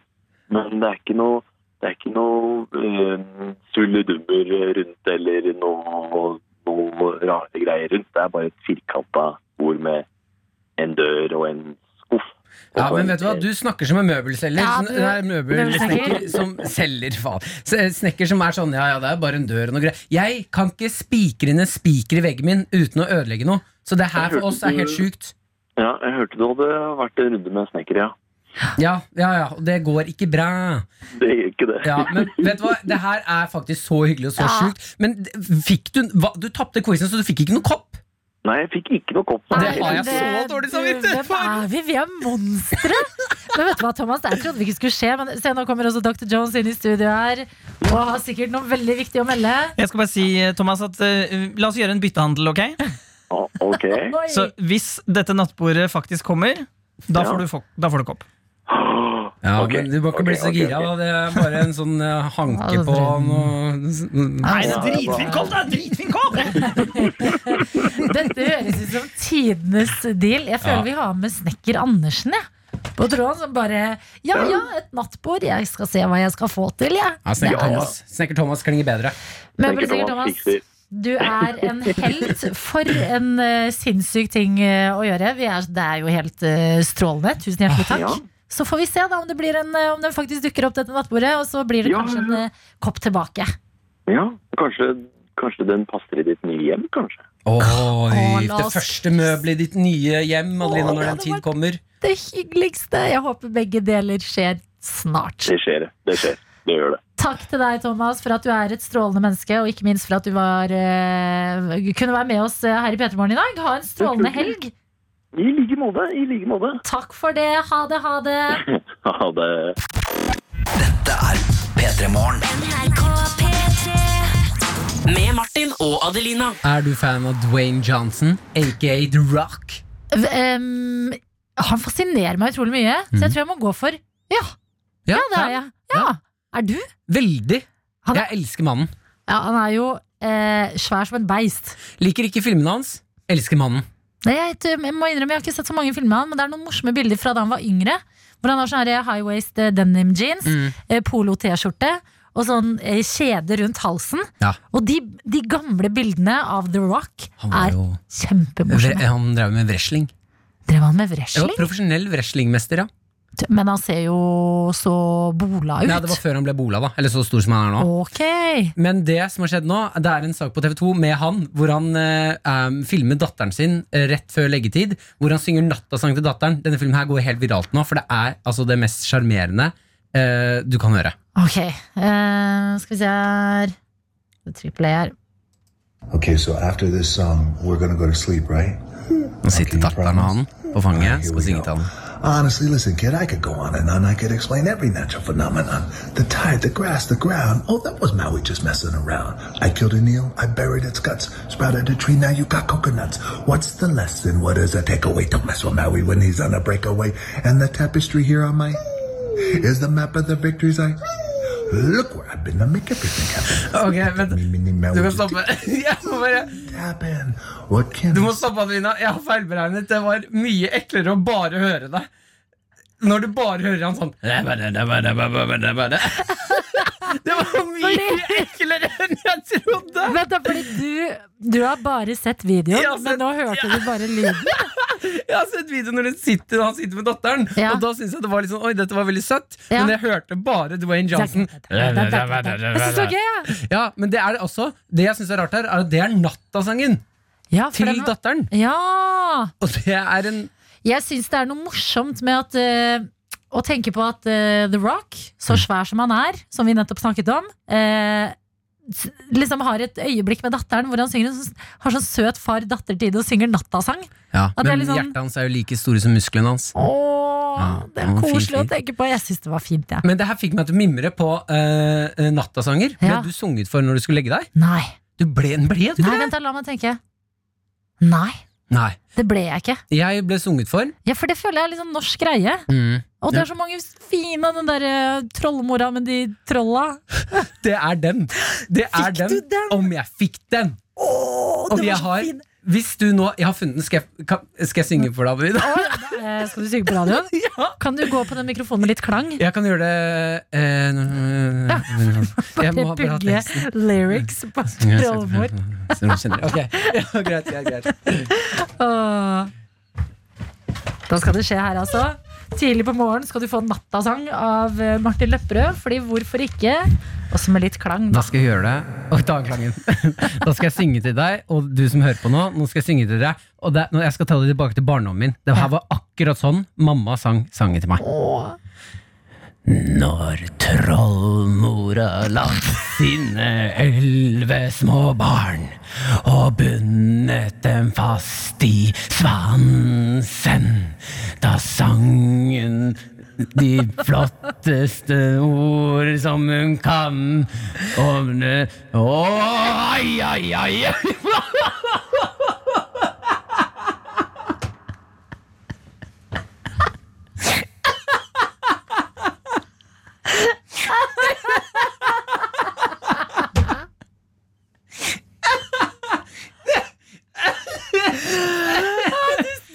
[SPEAKER 9] men det er ikke noe... Det er ikke noe eh, sulledummer rundt, eller noe, noe rare greier rundt. Det er bare et firkanta bord med en dør og en skuff. og
[SPEAKER 4] Ja,
[SPEAKER 9] så
[SPEAKER 4] men
[SPEAKER 9] en-
[SPEAKER 4] vet du hva, du snakker som en møbelselger.
[SPEAKER 3] Ja,
[SPEAKER 4] sånn-
[SPEAKER 3] du-
[SPEAKER 4] nei, møbelsnekker
[SPEAKER 3] møbelsnekker.
[SPEAKER 4] som selger, faen. S- Snekker som er sånn, ja ja, det er bare en dør og noe greier. Jeg kan ikke spikre inn en spiker i veggen min uten å ødelegge noe. Så det her for oss er helt sjukt.
[SPEAKER 9] Ja, jeg hørte du hadde vært en runde med snekkere, ja.
[SPEAKER 4] Ja, ja, ja, og det går ikke bra.
[SPEAKER 9] Det gjør ikke det.
[SPEAKER 4] Ja, men vet du hva, det her er faktisk så hyggelig og så
[SPEAKER 3] Ja.
[SPEAKER 4] sjukt. Men d- fikk du hva, Du tapte quizen, så du fikk ikke noe kopp.
[SPEAKER 9] Nei, jeg fikk ikke noe kopp.
[SPEAKER 4] Det
[SPEAKER 3] Nei,
[SPEAKER 4] har jeg
[SPEAKER 3] men
[SPEAKER 4] så
[SPEAKER 3] det-
[SPEAKER 4] dårlig samvittighet
[SPEAKER 3] du, Hvem er vi? Vi er monstre! Men vet du hva, Thomas, det her trodde vi ikke skulle skje, men se, nå kommer også Dr. Jones inn i studio her og har sikkert noe veldig viktig å melde.
[SPEAKER 5] Jeg skal bare si, eh, Thomas, at eh, la oss gjøre en byttehandel, ok?
[SPEAKER 9] Ja, ok.
[SPEAKER 3] Oi.
[SPEAKER 5] Så hvis dette nattbordet faktisk kommer, da
[SPEAKER 9] Ja.
[SPEAKER 5] får du, fo- da får du kopp.
[SPEAKER 4] Ja,
[SPEAKER 9] Ok,
[SPEAKER 4] men Du må ikke bli
[SPEAKER 9] ok,
[SPEAKER 4] så
[SPEAKER 9] ok,
[SPEAKER 4] gira.
[SPEAKER 9] ok.
[SPEAKER 4] da. Det er bare en sånn eh, hanke
[SPEAKER 3] Ja,
[SPEAKER 4] på noe
[SPEAKER 5] Nei, det
[SPEAKER 9] Ja,
[SPEAKER 5] er
[SPEAKER 9] det er
[SPEAKER 5] dritfin kopp! Det er dritfin kopp!
[SPEAKER 3] Dette høres ut som tidenes deal. Jeg føler
[SPEAKER 4] Ja.
[SPEAKER 3] vi har med snekker Andersen jeg. på tråden. Som bare Ja ja, et nattbord. Jeg skal se hva jeg skal få til, jeg.
[SPEAKER 4] Ja,
[SPEAKER 3] Det
[SPEAKER 4] snekker,
[SPEAKER 3] er jo-
[SPEAKER 4] Thomas. snekker Thomas klinger bedre.
[SPEAKER 9] Tenker
[SPEAKER 3] Møbelsikker
[SPEAKER 9] Thomas
[SPEAKER 3] Thomas.
[SPEAKER 9] fikser.
[SPEAKER 3] Du er en helt. For en eh, sinnssyk ting eh, å gjøre. Vi er, det er jo helt eh, strålende. Tusen hjertelig takk.
[SPEAKER 9] Ja.
[SPEAKER 3] Så får vi se da om, det blir en, eh, om den faktisk dukker opp dette nattbordet, og så blir det
[SPEAKER 9] Ja,
[SPEAKER 3] kanskje
[SPEAKER 9] ja,
[SPEAKER 3] en
[SPEAKER 9] ja.
[SPEAKER 3] eh, kopp tilbake.
[SPEAKER 9] Ja, kanskje, kanskje den passer i ditt nye hjem, kanskje.
[SPEAKER 4] Oi,
[SPEAKER 3] la
[SPEAKER 4] det
[SPEAKER 3] oss-
[SPEAKER 4] første møbelet i ditt nye hjem, Adelina,
[SPEAKER 3] Åh, det
[SPEAKER 4] når den
[SPEAKER 3] hadde
[SPEAKER 4] tid
[SPEAKER 3] vært-
[SPEAKER 4] kommer.
[SPEAKER 3] Det hyggeligste. Jeg håper begge deler skjer snart.
[SPEAKER 9] Det skjer, det skjer. Det gjør det.
[SPEAKER 3] Takk til deg, Thomas, for at du er et strålende menneske, og ikke minst for at du var, eh, kunne være med oss eh, her i Petermorgen i dag. Ha en strålende helg.
[SPEAKER 9] I like måte, i like måte.
[SPEAKER 3] Takk for det. Ha det, ha det.
[SPEAKER 9] Ha det.
[SPEAKER 1] Det er P3 Morgen.
[SPEAKER 2] Med Martin og Adelina.
[SPEAKER 4] Er du fan av Dwayne Johnson, aka The Rock?
[SPEAKER 3] V- em, han fascinerer meg utrolig mye, så jeg tror jeg må gå for ja. Mhm. Ja, det er jeg. Ja. Er du?
[SPEAKER 4] Veldig.
[SPEAKER 3] Han er-
[SPEAKER 4] Jeg elsker mannen.
[SPEAKER 3] Ja, han er jo eh, svær som en beist.
[SPEAKER 4] Liker ikke filmene hans. Elsker mannen.
[SPEAKER 3] Nei, jeg, t- jeg må innrømme, jeg har ikke sett så mange filmer av han, men det er noen morsomme bilder fra da han var yngre. Hvor han har sånn her high-waist eh, denim jeans,
[SPEAKER 4] Mm.
[SPEAKER 3] eh, polo-T-skjorte og sånn eh, kjede rundt halsen.
[SPEAKER 4] Ja.
[SPEAKER 3] Og de, de gamle bildene av The Rock
[SPEAKER 4] Han var
[SPEAKER 3] er
[SPEAKER 4] jo
[SPEAKER 3] kjempemorsomme.
[SPEAKER 4] Han drev med wrestling.
[SPEAKER 3] Drev han med
[SPEAKER 4] Jeg var
[SPEAKER 3] wrestling?
[SPEAKER 4] profesjonell wrestlingmester, ja.
[SPEAKER 3] Men han ser jo så bola ut.
[SPEAKER 4] Nei, det var før han ble bola, da. Eller så stor som han er nå.
[SPEAKER 3] Ok.
[SPEAKER 4] Men det som har skjedd nå, det er en sak på TV2 med han, hvor han eh, em, filmer datteren sin eh, rett før leggetid, hvor han synger nattasang til datteren. Denne filmen her går helt viralt nå, for det er altså det mest sjarmerende eh, du kan høre.
[SPEAKER 3] Ok. Eh, skal vi se her Det tripler jeg E her.
[SPEAKER 10] Okay, so after this song, we're gonna go to sleep, right?
[SPEAKER 4] Nå sitter datteren og han på fanget skal synge til han.
[SPEAKER 10] Honestly, listen, kid, I could go on and on. I could explain every natural phenomenon. The tide, the grass, the ground. Oh, that was Maui just messing around. I killed an eel, I buried its guts, sprouted a tree, now you got coconuts. What's the lesson? What is the takeaway? Don't mess with Maui when he's on a breakaway. And the tapestry here on my is the map of the victories I look where I've been to make everything happen.
[SPEAKER 4] Ok, vent.
[SPEAKER 10] Me, me, me,
[SPEAKER 4] Du
[SPEAKER 10] Maui,
[SPEAKER 4] kan
[SPEAKER 10] just
[SPEAKER 4] stoppe. Jeg må bare
[SPEAKER 10] happen. What can
[SPEAKER 4] Du må stoppe, Adelina. Jeg har feilberegnet. Det var mye eklere å bare høre deg. Når du bare hører han sånn Det var mye eklere enn jeg trodde!
[SPEAKER 3] Vent da, fordi du, du har bare sett videoen,
[SPEAKER 4] Jeg har sett-
[SPEAKER 3] men nå hørte du bare lyden.
[SPEAKER 4] Jeg har sett videoen når hun sitter, han sitter med datteren,
[SPEAKER 3] Ja.
[SPEAKER 4] og da syns jeg det var litt sånn Oi, dette var veldig søtt,
[SPEAKER 3] Ja.
[SPEAKER 4] men jeg hørte bare Dwayne Johnson.
[SPEAKER 3] Jeg synes det var gøy, jeg.
[SPEAKER 4] Ja, men det er det også. Det jeg syns er rart her, er at det er nattasangen
[SPEAKER 3] Ja, for
[SPEAKER 4] til
[SPEAKER 3] den var-
[SPEAKER 4] datteren.
[SPEAKER 3] Ja!
[SPEAKER 4] Og det er en
[SPEAKER 3] Jeg syns det er noe morsomt med at eh, å tenke på at eh, The Rock, så svær som han er, som vi nettopp snakket om, eh, s- liksom har et øyeblikk med datteren hvor han synger, en sånn- har sånn søt far-datter-tid og synger nattasang.
[SPEAKER 4] ja,
[SPEAKER 3] At det er
[SPEAKER 4] Men
[SPEAKER 3] litt sånn-
[SPEAKER 4] hjertet hans er jo like store som musklene hans.
[SPEAKER 3] Åh,
[SPEAKER 4] Ja,
[SPEAKER 3] det
[SPEAKER 4] det
[SPEAKER 3] er
[SPEAKER 4] var
[SPEAKER 3] koselig
[SPEAKER 4] fint,
[SPEAKER 3] å tenke på. Jeg syns det var fint, jeg.
[SPEAKER 4] Men det her fikk meg til å mimre på eh, eh, nattasanger. Ble
[SPEAKER 3] Ja.
[SPEAKER 4] du sunget for når du skulle legge deg?
[SPEAKER 3] Nei,
[SPEAKER 4] Du ble, ble
[SPEAKER 3] nei,
[SPEAKER 4] du ikke det?
[SPEAKER 3] vent da, la meg tenke. Nei,
[SPEAKER 4] Nei.
[SPEAKER 3] det ble jeg ikke.
[SPEAKER 4] Jeg ble sunget for.
[SPEAKER 3] Ja, For det føler jeg er litt sånn norsk greie. Og det er så mange fine av den derre trollmora med de trolla.
[SPEAKER 4] Det er den. Det er
[SPEAKER 3] Fikk
[SPEAKER 4] den.
[SPEAKER 3] du den?
[SPEAKER 4] Om jeg fikk den.
[SPEAKER 3] Åh,
[SPEAKER 4] Om jeg har Hvis du nå Jeg har funnet den. Skal jeg, kan, skal jeg synge for deg, Adelina?
[SPEAKER 3] Eh, Skal du synge på radioen?
[SPEAKER 4] Ja.
[SPEAKER 3] Kan du gå på den mikrofonen med litt klang?
[SPEAKER 4] Jeg kan gjøre det eh, nå- Jeg må ha
[SPEAKER 3] Bare
[SPEAKER 4] bra
[SPEAKER 3] pugge
[SPEAKER 4] tekst.
[SPEAKER 3] lyrics på trollmor.
[SPEAKER 4] Ok, ja, greit, ja, greit.
[SPEAKER 3] Åh. Da skal det skje her, altså. Tidlig på morgenen skal du få nattasang av eh, Martin Lepperød, fordi hvorfor ikke? Også med litt klang.
[SPEAKER 4] Da skal jeg gjøre det. Og ta klangen. Da skal jeg synge til deg, og du som hører på nå. Nå skal jeg synge til deg. Og det, nå- jeg skal ta det tilbake til barndommen min. Det her var akkurat sånn mamma sang sangen til meg. Når trollmora langt sine elleve små barn og bundet dem fast i svansen, da sangen de flotteste ord som hun kan om det Åh, ai, ai, ai!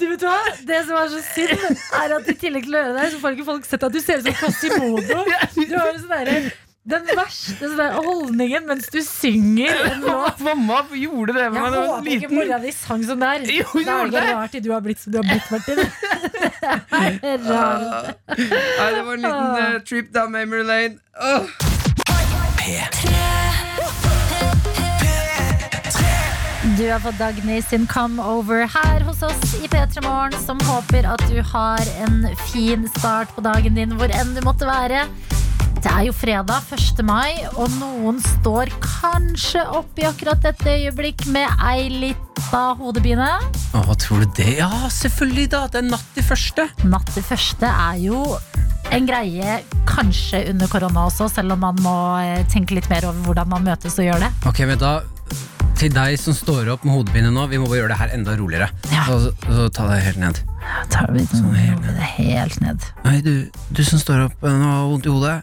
[SPEAKER 3] Du vet hva? Det som er så synd, er at i tillegg til å høre deg, så får ikke folk sett at du ser ut som Cosimodo. Du har en sånn derre- den verste sånn der holdningen mens du synger en låt.
[SPEAKER 4] Mamma gjorde det med
[SPEAKER 3] Jeg
[SPEAKER 4] meg da jeg var
[SPEAKER 3] håper ikke
[SPEAKER 4] liten.
[SPEAKER 3] mora di sang sånn der.
[SPEAKER 4] Jo, hun
[SPEAKER 3] da er
[SPEAKER 4] gjorde
[SPEAKER 3] det
[SPEAKER 4] det.
[SPEAKER 3] ikke rart at du har blitt som du har blitt, Martin. Det er rart.
[SPEAKER 4] Nei, det var en liten
[SPEAKER 3] Ah.
[SPEAKER 4] eh, trip down memory lane. Åh.
[SPEAKER 3] Du har fått Dagny sin Come Over her hos oss i P3 Morgen, som håper at du har en fin start på dagen din hvor enn du måtte være. Det er jo fredag, 1. mai, og noen står kanskje oppe i akkurat dette øyeblikk med ei lita hodepine.
[SPEAKER 4] Å, tror du det? Ja, selvfølgelig da. Det er natt til første.
[SPEAKER 3] Natt til første er jo en greie kanskje under korona også, selv om man må eh, tenke litt mer over hvordan man møtes og gjør det.
[SPEAKER 4] Ok, men da til deg som står opp med hodepine nå, vi må bare gjøre det her enda roligere.
[SPEAKER 3] Ja.
[SPEAKER 4] Så, så ta deg helt ned.
[SPEAKER 3] Da tar vi det helt ned.
[SPEAKER 4] Hei, du, du som står opp eh, nå og har vondt i hodet.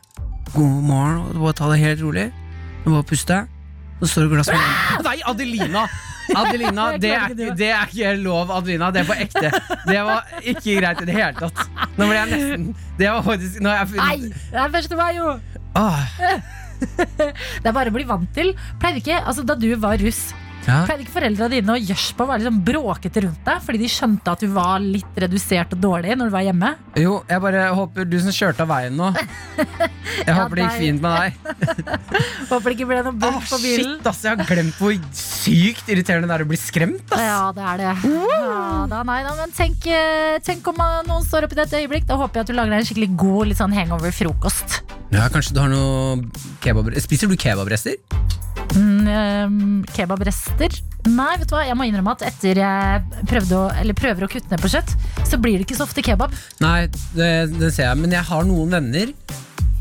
[SPEAKER 4] God morgen. og Bare ta det helt rolig. Du Bare puste. Så står det glass med Nei, Adelina! Adelina,
[SPEAKER 3] Ah, Jeg klarer
[SPEAKER 4] det er,
[SPEAKER 3] ikke
[SPEAKER 4] ikke-
[SPEAKER 3] det.
[SPEAKER 4] det er ikke lov, Adelina. Det er på ekte. Det var ikke greit i det hele tatt. Nå ble jeg nesten Det var faktisk Nå har
[SPEAKER 3] Nei,
[SPEAKER 4] jeg funnet Ah,
[SPEAKER 3] det er 1. mai, jo!
[SPEAKER 4] Åh,
[SPEAKER 3] Det er bare å bli vant til. Pleide ikke, altså Da du var russ,
[SPEAKER 4] ja.
[SPEAKER 3] pleide ikke foreldra dine å gjørs på å være liksom bråkete rundt deg fordi de skjønte at du var litt redusert og dårlig når du var hjemme?
[SPEAKER 4] Jo, jeg bare håper du som kjørte av veien nå Jeg
[SPEAKER 3] Ja,
[SPEAKER 4] håper det gikk
[SPEAKER 3] deg.
[SPEAKER 4] fint med deg
[SPEAKER 3] Håper det ikke ble noe
[SPEAKER 4] Åh,
[SPEAKER 3] bråk på bilen.
[SPEAKER 4] Shit, ass, jeg har glemt hvor sykt irriterende det er å bli skremt ass.
[SPEAKER 3] Ja, det er det. Ja, da, nei, da, men tenk, eh, tenk om eh, noen står opp i dette øyeblikk. Da håper jeg at du lager deg en skikkelig god litt sånn hangover-frokost.
[SPEAKER 4] Ja, kanskje du har noe kebab Spiser du kebabrester?
[SPEAKER 3] Mm, ehm, kebabrester? Nei, vet du hva? jeg må innrømme at etter jeg prøvde å, eller prøver å kutte ned på kjøtt, så blir det ikke så ofte kebab.
[SPEAKER 4] Nei, det, det ser jeg. Men jeg har noen venner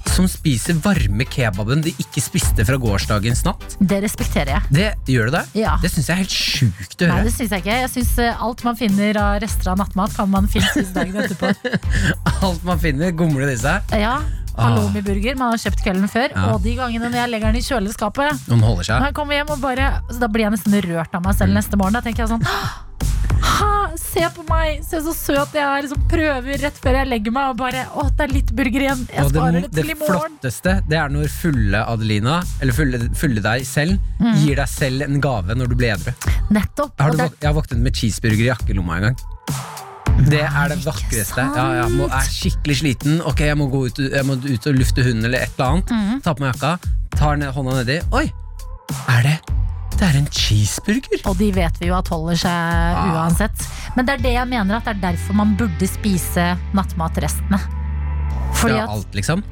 [SPEAKER 4] som spiser varme kebaben de ikke spiste fra gårsdagens natt.
[SPEAKER 3] Det respekterer jeg.
[SPEAKER 4] Det gjør du det?
[SPEAKER 3] Ja.
[SPEAKER 4] Det syns jeg er helt sjukt å
[SPEAKER 3] Nei,
[SPEAKER 4] høre.
[SPEAKER 3] det syns jeg ikke. Jeg synes eh, Alt man finner av rester av nattmat, kan man finne siste dagen etterpå.
[SPEAKER 4] Alt man finner, gomler det i seg.
[SPEAKER 3] Ja, Halloumi-burger man har kjøpt kvelden før.
[SPEAKER 4] Ja.
[SPEAKER 3] Og de gangene når jeg legger den i kjøleskapet.
[SPEAKER 4] Noen holder
[SPEAKER 3] Når
[SPEAKER 4] seg.
[SPEAKER 3] jeg kommer hjem og bare så Da blir jeg nesten rørt av meg
[SPEAKER 4] Mm.
[SPEAKER 3] selv neste morgen. Da tenker jeg sånn «Hæ, Se på meg! Se så søt jeg er! Liksom prøver rett før jeg legger meg og bare Å, det er litt burger igjen! Jeg
[SPEAKER 4] Og det,
[SPEAKER 3] sparer det
[SPEAKER 4] det
[SPEAKER 3] til i morgen!
[SPEAKER 4] flotteste det er når fulle Adelina, eller fulle, fulle deg selv,
[SPEAKER 3] Mm.
[SPEAKER 4] gir deg selv en gave når du blir edru.
[SPEAKER 3] Nettopp!
[SPEAKER 4] Jeg, har
[SPEAKER 3] Og
[SPEAKER 4] du
[SPEAKER 3] det,
[SPEAKER 4] våk- jeg har våknet med cheeseburger i jakkelomma en gang. Det er det
[SPEAKER 3] ikke
[SPEAKER 4] vakreste.
[SPEAKER 3] sant?
[SPEAKER 4] Ja, jeg må, er skikkelig sliten. Ok, jeg må, gå ut, jeg må ut og lufte hunden eller et eller annet.
[SPEAKER 3] Mhm.
[SPEAKER 4] Ta på meg jakka, tar ned, hånda nedi. Oi! Er det Det er en cheeseburger!
[SPEAKER 3] og de vet vi jo at holder seg
[SPEAKER 4] Ah.
[SPEAKER 3] uansett. Men det er det jeg mener at det er derfor man burde spise nattmatrestene. Fordi
[SPEAKER 4] Fra
[SPEAKER 3] at
[SPEAKER 4] alt, liksom.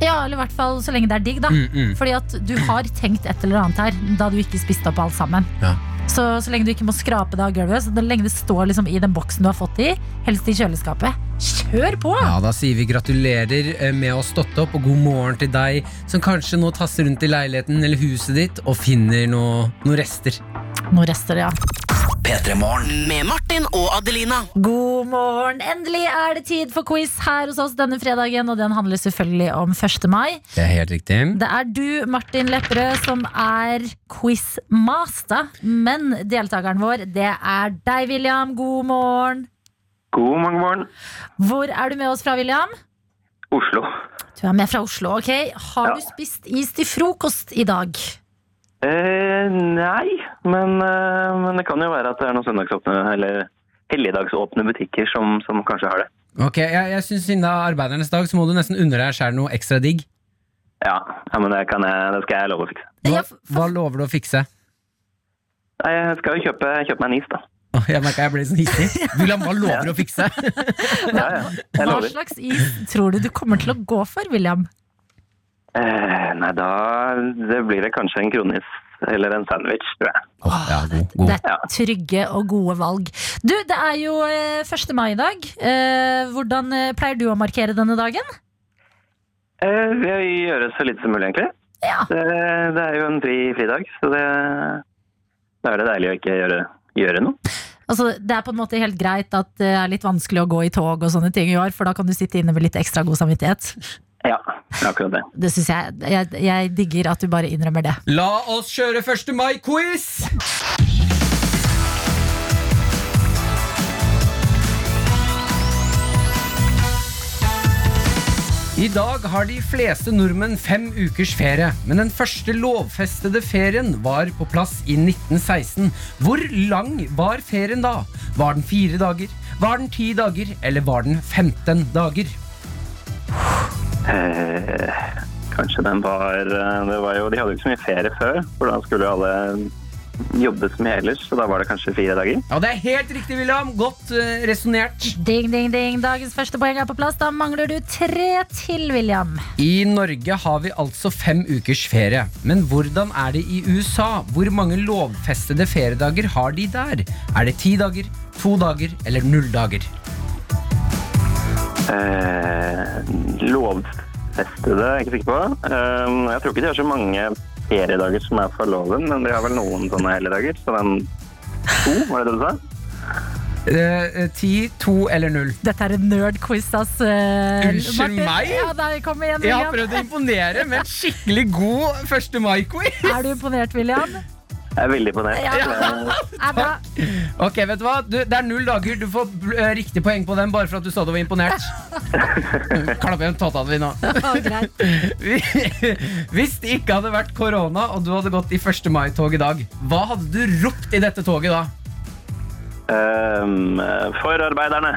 [SPEAKER 3] Ja, eller i hvert fall så lenge det er digg, da.
[SPEAKER 4] Mm, mm.
[SPEAKER 3] Fordi at du har tenkt et eller annet her da du ikke spiste opp alt sammen.
[SPEAKER 4] Ja.
[SPEAKER 3] Så, så lenge du ikke må skrape det av gulvet, så lenge det står liksom i den boksen du har fått det i, helst i kjøleskapet, kjør på!
[SPEAKER 4] Ja, Da sier vi gratulerer eh, med å ha stått opp, og god morgen til deg som kanskje nå tasser rundt i leiligheten eller huset ditt og finner noe- noen rester.
[SPEAKER 3] Nå rester det, ja.
[SPEAKER 1] P3 Morgen.
[SPEAKER 2] Med Martin og Adelina.
[SPEAKER 3] God morgen! Endelig er det tid for quiz her hos oss denne fredagen, og den handler selvfølgelig om 1. mai.
[SPEAKER 4] Det er helt riktig.
[SPEAKER 3] Det er du, Martin Lepperød, som er quizmaster, men deltakeren vår, det er deg, William. God morgen!
[SPEAKER 9] God mange morgen.
[SPEAKER 3] Hvor er du med oss fra, William?
[SPEAKER 9] Oslo.
[SPEAKER 3] Du er med fra Oslo, ok. Har
[SPEAKER 9] Ja.
[SPEAKER 3] du spist is til frokost i dag?
[SPEAKER 9] Eh, nei, men, eh, men det kan jo være at det er noen søndagsåpne eller helligdagsåpne butikker som, som kanskje har det.
[SPEAKER 4] Ok, Jeg, jeg synes siden det er arbeidernes dag, så må du nesten unne deg sjæl noe ekstra digg.
[SPEAKER 9] Ja, ja men det, kan jeg, det skal jeg love å fikse.
[SPEAKER 4] Hva,
[SPEAKER 3] Ja, for-
[SPEAKER 4] hva lover du å fikse?
[SPEAKER 9] Nei, jeg skal jo kjøpe, kjøpe meg en is, da.
[SPEAKER 4] Åh, Jeg merker jeg ble sånn hissig. William, hva lover du å fikse?
[SPEAKER 9] Ja, ja. Jeg
[SPEAKER 3] Hva
[SPEAKER 9] lover.
[SPEAKER 3] slags is tror du du kommer til å gå for, William?
[SPEAKER 9] Eh, nei, da det blir det kanskje en kronis eller en sandwich, tror jeg.
[SPEAKER 4] Åh, ja, god, god.
[SPEAKER 3] Det er trygge og gode valg. Du, det er jo eh, 1. mai i dag. Eh, Hvordan eh, pleier du å markere denne dagen?
[SPEAKER 9] Eh, jeg gjør det så lite som mulig, egentlig.
[SPEAKER 3] Ja.
[SPEAKER 9] Det, det er jo en fri fridag, så det, da er det deilig å ikke gjøre, gjøre noe.
[SPEAKER 3] Altså, det er på en måte helt greit at det er litt vanskelig å gå i tog og sånne ting i år, for da kan du sitte inne med litt ekstra god samvittighet.
[SPEAKER 9] Ja, akkurat det.
[SPEAKER 3] Det synes jeg, jeg, jeg digger at du bare innrømmer det.
[SPEAKER 4] La oss kjøre 1. mai-quiz! I dag har de fleste nordmenn fem ukers ferie, men den første lovfestede ferien var på plass i 1916. Hvor lang var ferien da? Var den fire dager? Var den ti dager? Eller var den 15 dager?
[SPEAKER 9] Eh, kanskje den var, eh, det var jo, De hadde jo ikke så mye ferie før, for da skulle jo alle jobbe som ellers. Så da var det kanskje fire dager.
[SPEAKER 4] Ja, det er helt riktig, William. Godt uh, resonnert.
[SPEAKER 3] Ding, ding, ding. Dagens første poeng er på plass. Da mangler du tre til, William.
[SPEAKER 4] I Norge har vi altså fem ukers ferie. Men hvordan er det i USA? Hvor mange lovfestede feriedager har de der? Er det ti dager, to dager eller null dager?
[SPEAKER 9] Eh, lovfestede, jeg er ikke sikker på. Eh, jeg tror ikke de har så mange feriedager som er for loven, men de har vel noen sånne helligdager. Så den to, var det det du sa?
[SPEAKER 4] Eh, eh, Ti, to eller null?
[SPEAKER 3] Dette er en nerd-quiz, ass. eh,
[SPEAKER 4] Unnskyld
[SPEAKER 3] Martin.
[SPEAKER 4] meg?
[SPEAKER 3] Ja, nei, kom igjen,
[SPEAKER 4] Jeg har
[SPEAKER 3] William.
[SPEAKER 4] prøvd å imponere med en skikkelig god 1. mai-quiz.
[SPEAKER 3] Er du imponert, William?
[SPEAKER 9] Jeg er veldig imponert.
[SPEAKER 3] Ja.
[SPEAKER 9] Eh,
[SPEAKER 3] Er bra.
[SPEAKER 4] Ok, vet du hva? Du, det er null dager. Du får eh, riktig poeng på den bare for at du sa du var imponert. Klapp igjen tåta di nå.
[SPEAKER 3] Å, greit.
[SPEAKER 4] Hvis det ikke hadde vært korona, og du hadde gått i 1. mai-tog i dag, hva hadde du ropt i dette toget da?
[SPEAKER 9] eh, for arbeiderne.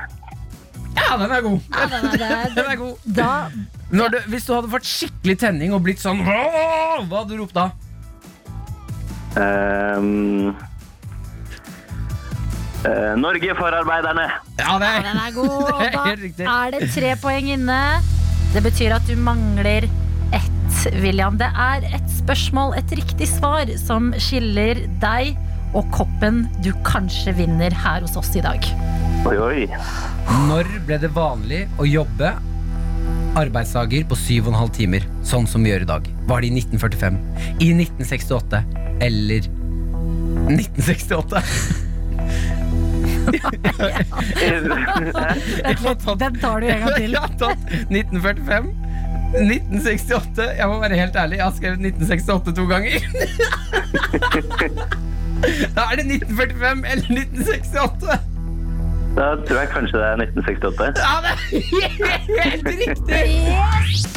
[SPEAKER 4] Ja, den er god.
[SPEAKER 3] Ja, den er der.
[SPEAKER 4] Den er god.
[SPEAKER 3] Da,
[SPEAKER 4] Når du, hvis du hadde fått skikkelig tenning og blitt sånn «Åh!» Hva hadde du ropt da?
[SPEAKER 9] Eh, eh, Norge for arbeiderne!
[SPEAKER 4] Ja, det
[SPEAKER 3] den er god.
[SPEAKER 4] Det er
[SPEAKER 3] Da
[SPEAKER 4] helt riktig.
[SPEAKER 3] er det tre poeng inne. Det betyr at du mangler ett William. Det er et spørsmål, et riktig svar, som skiller deg og koppen du kanskje vinner her hos oss i dag.
[SPEAKER 9] Oi, oi.
[SPEAKER 4] Når ble det vanlig å jobbe arbeidsdager på 7,5 timer, sånn som vi gjør i dag? Var det i 1945, i 1968 eller 1968?
[SPEAKER 3] Vent litt, Den tar du en gang til.
[SPEAKER 4] Jeg har tatt 1945, 1968 Jeg må være helt ærlig, jeg har skrevet 1968 to ganger. Da er det 1945 eller 1968.
[SPEAKER 9] Da tror jeg kanskje det er 1968.
[SPEAKER 4] Ja, det er helt riktig!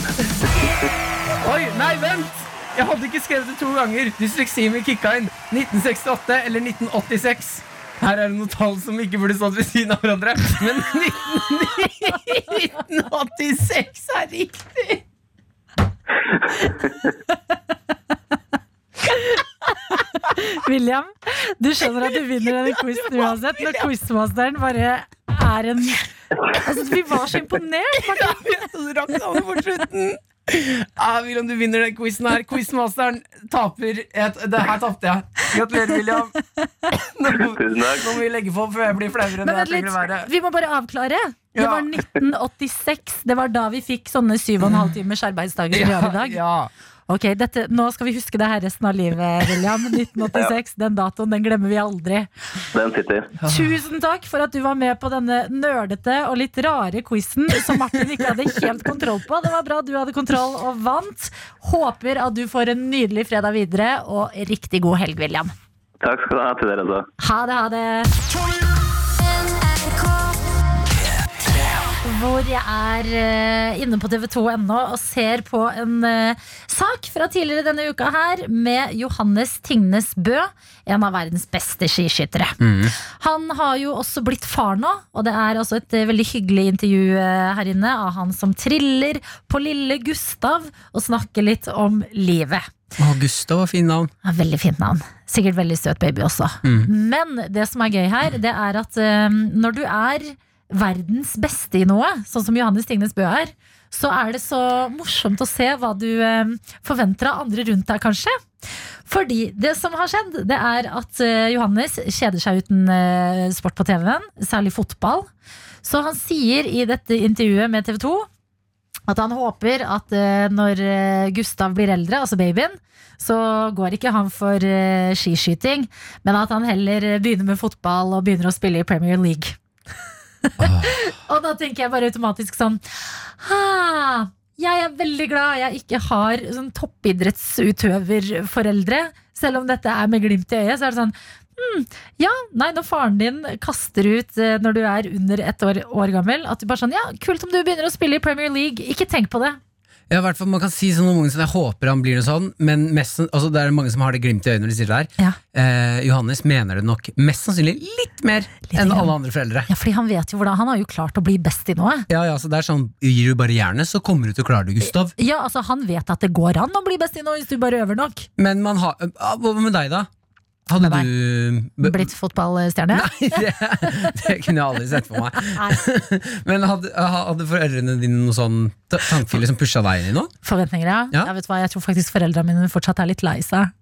[SPEAKER 4] Oi, nei, vent! Jeg hadde ikke skrevet det to ganger. Dysleksien min kicka inn. 1968 eller 1986. Her er det noen tall som ikke burde stått ved siden av hverandre. Men 19 1986 er riktig!
[SPEAKER 3] William, du skjønner at du vinner denne quizen uansett, når quizmasteren bare er en Altså, vi var så imponert! Martin.
[SPEAKER 4] Så du rakk det alle på slutten. Ja, William, du vinner den quizen her. Quizmasteren taper. Et, det her tapte jeg. Gratulerer, William. Nå, må-
[SPEAKER 9] Tusen takk.
[SPEAKER 4] nå må vi legge på før jeg blir flauere enn
[SPEAKER 3] Men
[SPEAKER 4] jeg
[SPEAKER 3] vent
[SPEAKER 4] trenger å være.
[SPEAKER 3] litt, vi må bare avklare. Det
[SPEAKER 4] Ja.
[SPEAKER 3] var 1986. Det var da vi fikk sånne syv og en halv timers arbeidsdager som vi har i dag.
[SPEAKER 4] Ja,
[SPEAKER 3] Ok, dette, Nå skal vi huske det her resten av livet, William. 1986. Den datoen den glemmer vi aldri.
[SPEAKER 9] Den sitter.
[SPEAKER 3] Tusen takk for at du var med på denne nerdete og litt rare quizen som Martin ikke hadde helt kontroll på. Det var bra du hadde kontroll og vant. Håper at du får en nydelig fredag videre, og riktig god helg, William.
[SPEAKER 9] Takk skal du ha til dere også.
[SPEAKER 3] Ha det, ha det. Hvor jeg er eh, inne på tv2.no og ser på en eh, sak fra tidligere denne uka her med Johannes Tingnes Bø, en av verdens beste skiskyttere. Han har jo også blitt far nå, og det er også et eh, veldig hyggelig intervju eh, her inne av han som triller på lille Gustav og snakker litt om livet.
[SPEAKER 4] Gustav var fint navn.
[SPEAKER 3] Ja, veldig fint navn. Sikkert veldig søt baby også. Men det som er gøy her, det er at eh, når du er verdens beste i noe, sånn som Johannes Tingnes Bø er, så er det så morsomt å se hva du eh, forventer av andre rundt deg, kanskje. Fordi det som har skjedd, det er at eh, Johannes kjeder seg uten eh, sport på TV-en, særlig fotball. Så han sier i dette intervjuet med TV 2 at han håper at eh, når eh, Gustav blir eldre, altså babyen, så går ikke han for eh, skiskyting, men at han heller eh, begynner med fotball og begynner å spille i Premier League. og da tenker jeg bare automatisk sånn ha, Jeg er veldig glad jeg ikke har sånn toppidrettsutøverforeldre. Selv om dette er med glimt i øyet, så er det sånn hmm, ja, nei, når faren din kaster ut eh, når du er under ett år, år gammel, at du bare sånn Ja, kult om du begynner å spille i Premier League. Ikke tenk på det.
[SPEAKER 4] Ja, i hvert fall, Man kan si sånn om ungen sin, jeg håper han blir noe sånn, men mest, sann- altså, det er mange som har det glimt i øynene når de sier det her.
[SPEAKER 3] Ja.
[SPEAKER 4] Eh, Johannes mener det nok mest sannsynlig litt mer enn
[SPEAKER 3] grann.
[SPEAKER 4] alle andre foreldre.
[SPEAKER 3] Ja, fordi han vet jo hvordan Han har jo klart å bli best i noe.
[SPEAKER 4] Ja, ja, så det er sånn, Gir du bare jernet, så kommer du til å klare det, Gustav.
[SPEAKER 3] Ja, altså Han vet at det går an å bli best i noe hvis du bare øver nok.
[SPEAKER 4] Men man har, ah, hva med deg, da? Hadde
[SPEAKER 3] Med meg?
[SPEAKER 4] du
[SPEAKER 3] Blitt fotballstjerne?
[SPEAKER 4] Nei, det, det kunne jeg aldri sett for meg. Men hadde, ah, hadde foreldrene dine noen sånn ta- tankefiler som pusha deg inn i noe?
[SPEAKER 3] Forventninger, ja.
[SPEAKER 4] Ja.
[SPEAKER 3] Jeg, vet du hva, jeg tror faktisk foreldrene mine fortsatt er litt lei seg.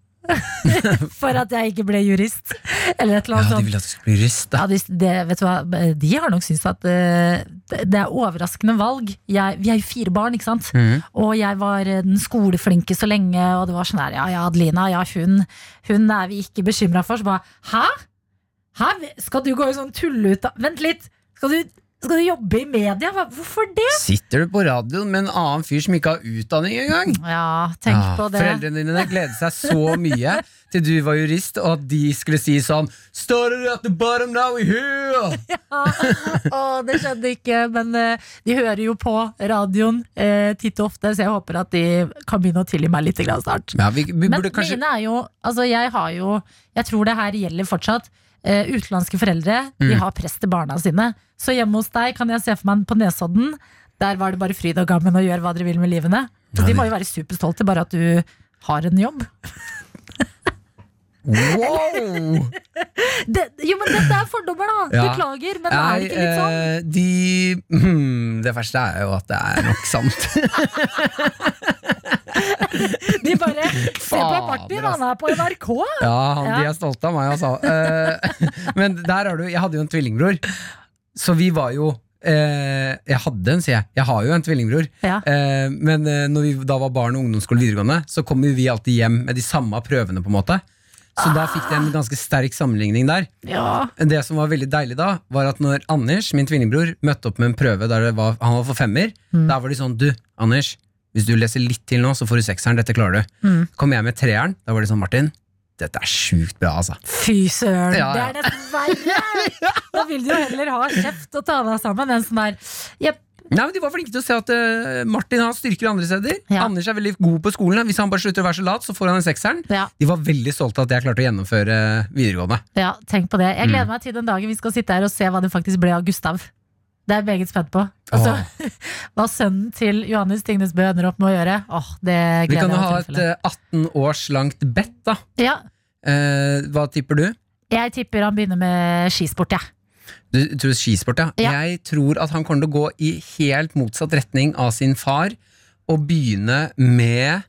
[SPEAKER 3] For at jeg ikke ble jurist. Eller et eller
[SPEAKER 4] Ja,
[SPEAKER 3] annet
[SPEAKER 4] de
[SPEAKER 3] sånt.
[SPEAKER 4] ville at du skulle bli jurist.
[SPEAKER 3] Ja,
[SPEAKER 4] da.
[SPEAKER 3] de, det, vet du hva? de har nok syntes at eh, det det er overraskende valg. Jeg, vi er jo fire barn, ikke sant?
[SPEAKER 4] Mhm.
[SPEAKER 3] Og jeg var eh, den skoleflinke så lenge, og det var sånn her, ja, ja, Adelina, ja, hun, hun er vi ikke bekymra for. Så bare, hæ? hæ? Skal du gå i sånn tulleutda... Vent litt! Skal du, skal du jobbe i media? Hva- Hvorfor det?
[SPEAKER 4] Sitter du på radioen med en annen fyr som ikke har utdanning engang?
[SPEAKER 3] Ja, tenk
[SPEAKER 4] Ja,
[SPEAKER 3] på det.
[SPEAKER 4] Foreldrene dine gledet seg så mye til du var jurist, og at de skulle si sånn Started at the bottom, now we're here!
[SPEAKER 3] Ja. Å, Ah, det skjedde ikke, men eh, de hører jo på radioen eh, titt og ofte, så jeg håper at de kan begynne å tilgi meg litt grann snart.
[SPEAKER 4] Ja, vi, vi
[SPEAKER 3] Men
[SPEAKER 4] burde kanskje
[SPEAKER 3] mine er jo Altså, jeg har jo Jeg tror det her gjelder fortsatt. Eh, utenlandske foreldre De
[SPEAKER 4] Mm.
[SPEAKER 3] har press til barna sine. Så hjemme hos deg kan jeg se for meg på Nesodden. Der var det bare fryd og gammen og gjør hva dere vil med livene. Så de må jo være superstolte bare at du har en jobb.
[SPEAKER 4] Wow!
[SPEAKER 3] Det, jo, men dette er fordommer, da!
[SPEAKER 4] Ja.
[SPEAKER 3] Beklager, men er det ikke litt sånn?
[SPEAKER 4] eh, de hmm, Det verste er jo at det er nok sant.
[SPEAKER 3] De bare Se på Martin, han er på NRK!
[SPEAKER 4] Ja, han, de
[SPEAKER 3] Ja.
[SPEAKER 4] er stolte av meg, altså. Eh, men der har du Jeg hadde jo en tvillingbror, så vi var jo eh, Jeg hadde en, sier jeg. Jeg har jo en tvillingbror.
[SPEAKER 3] Ja.
[SPEAKER 4] Eh, men eh, når vi da var barn og ungdomsskole og videregående, så kom jo vi alltid hjem med de samme prøvene, på en måte. Så da fikk de en ganske sterk sammenligning der.
[SPEAKER 3] Ja.
[SPEAKER 4] Det som var veldig deilig da, var at når Anders, min tvillingbror, møtte opp med en prøve der det var, han var for femmer,
[SPEAKER 3] Mm.
[SPEAKER 4] der var de sånn Du, Anders, hvis du leser litt til nå, så får du sekseren. Dette klarer du.
[SPEAKER 3] Mm.
[SPEAKER 4] Kom jeg med treeren, da var de sånn Martin, dette er sjukt bra, altså.
[SPEAKER 3] Fy søren,
[SPEAKER 4] Ja, ja.
[SPEAKER 3] det er nesten verre! Da vil du jo heller ha kjeft og ta deg sammen enn sånn der Jepp.
[SPEAKER 4] Nei, men De var flinke til å se at eh, Martin har styrker andre steder.
[SPEAKER 3] Ja.
[SPEAKER 4] Anders er veldig god på skolen. Hvis han bare slutter å være så lat, så får han en sekseren.
[SPEAKER 3] Ja,
[SPEAKER 4] De var veldig stolte av at jeg klarte å gjennomføre eh, videregående.
[SPEAKER 3] ja, tenk på det. Jeg
[SPEAKER 4] Mm.
[SPEAKER 3] gleder meg til den dagen vi skal sitte her og se hva det faktisk ble av Gustav. Det er jeg meget spent på. Altså, hva sønnen til Johannes Tingnes Bø ender opp med å gjøre, åh, det
[SPEAKER 4] Vi kan
[SPEAKER 3] gleder
[SPEAKER 4] jo ha
[SPEAKER 3] jeg meg
[SPEAKER 4] et
[SPEAKER 3] til.
[SPEAKER 4] eh, 18 års langt bet, da.
[SPEAKER 3] Ja,
[SPEAKER 4] Eh, hva tipper du?
[SPEAKER 3] jeg tipper han begynner med skisport, jeg.
[SPEAKER 4] Du tror skisport, ja.
[SPEAKER 3] Ja.
[SPEAKER 4] Jeg tror at han kommer til å gå i helt motsatt retning av sin far og begynne med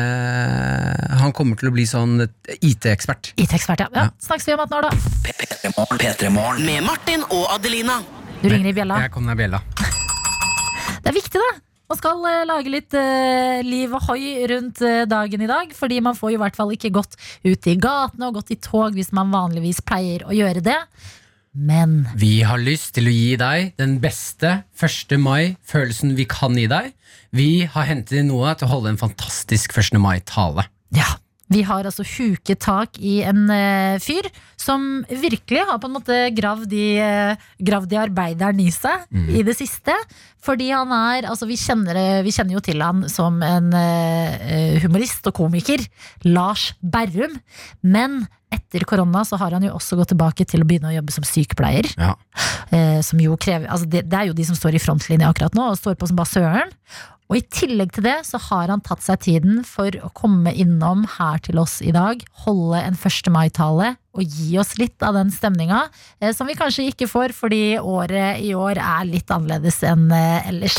[SPEAKER 4] eh, Han kommer til å bli sånn IT-ekspert.
[SPEAKER 3] IT-ekspert, ja. ja. Snakkes vi om 18 år, da.
[SPEAKER 1] P3morgen, P3morgen.
[SPEAKER 2] Med Martin og Adelina.
[SPEAKER 3] Du ringer i bjella.
[SPEAKER 4] Jeg kom ned bjella.
[SPEAKER 3] Det er viktig, det. Man skal eh, lage litt eh, liv og hoi rundt eh, dagen i dag, fordi man får i hvert fall ikke gått ut i gatene og gått i tog hvis man vanligvis pleier å gjøre det. Men
[SPEAKER 4] Vi har lyst til å gi deg den beste 1. mai-følelsen vi kan gi deg. Vi har hentet inn noe til å holde en fantastisk 1. mai-tale.
[SPEAKER 3] ja, vi har altså huket tak i en eh, fyr som virkelig har på en måte gravd i, eh, gravd i arbeideren i seg i det siste. Fordi han er Altså, vi kjenner, eh, vi kjenner jo til han som en eh, eh, humorist og komiker. Lars Berrum. Men etter korona så har han jo også gått tilbake til å begynne å jobbe som sykepleier.
[SPEAKER 4] Ja.
[SPEAKER 3] Eh, som jo krever, altså det, det er jo de som står i frontlinja akkurat nå, og står på som bare søren. Og i tillegg til det så har han tatt seg tiden for å komme innom her til oss i dag, holde en 1. mai-tale og gi oss litt av den stemninga eh, som vi kanskje ikke får fordi året i år er litt annerledes enn eh, ellers.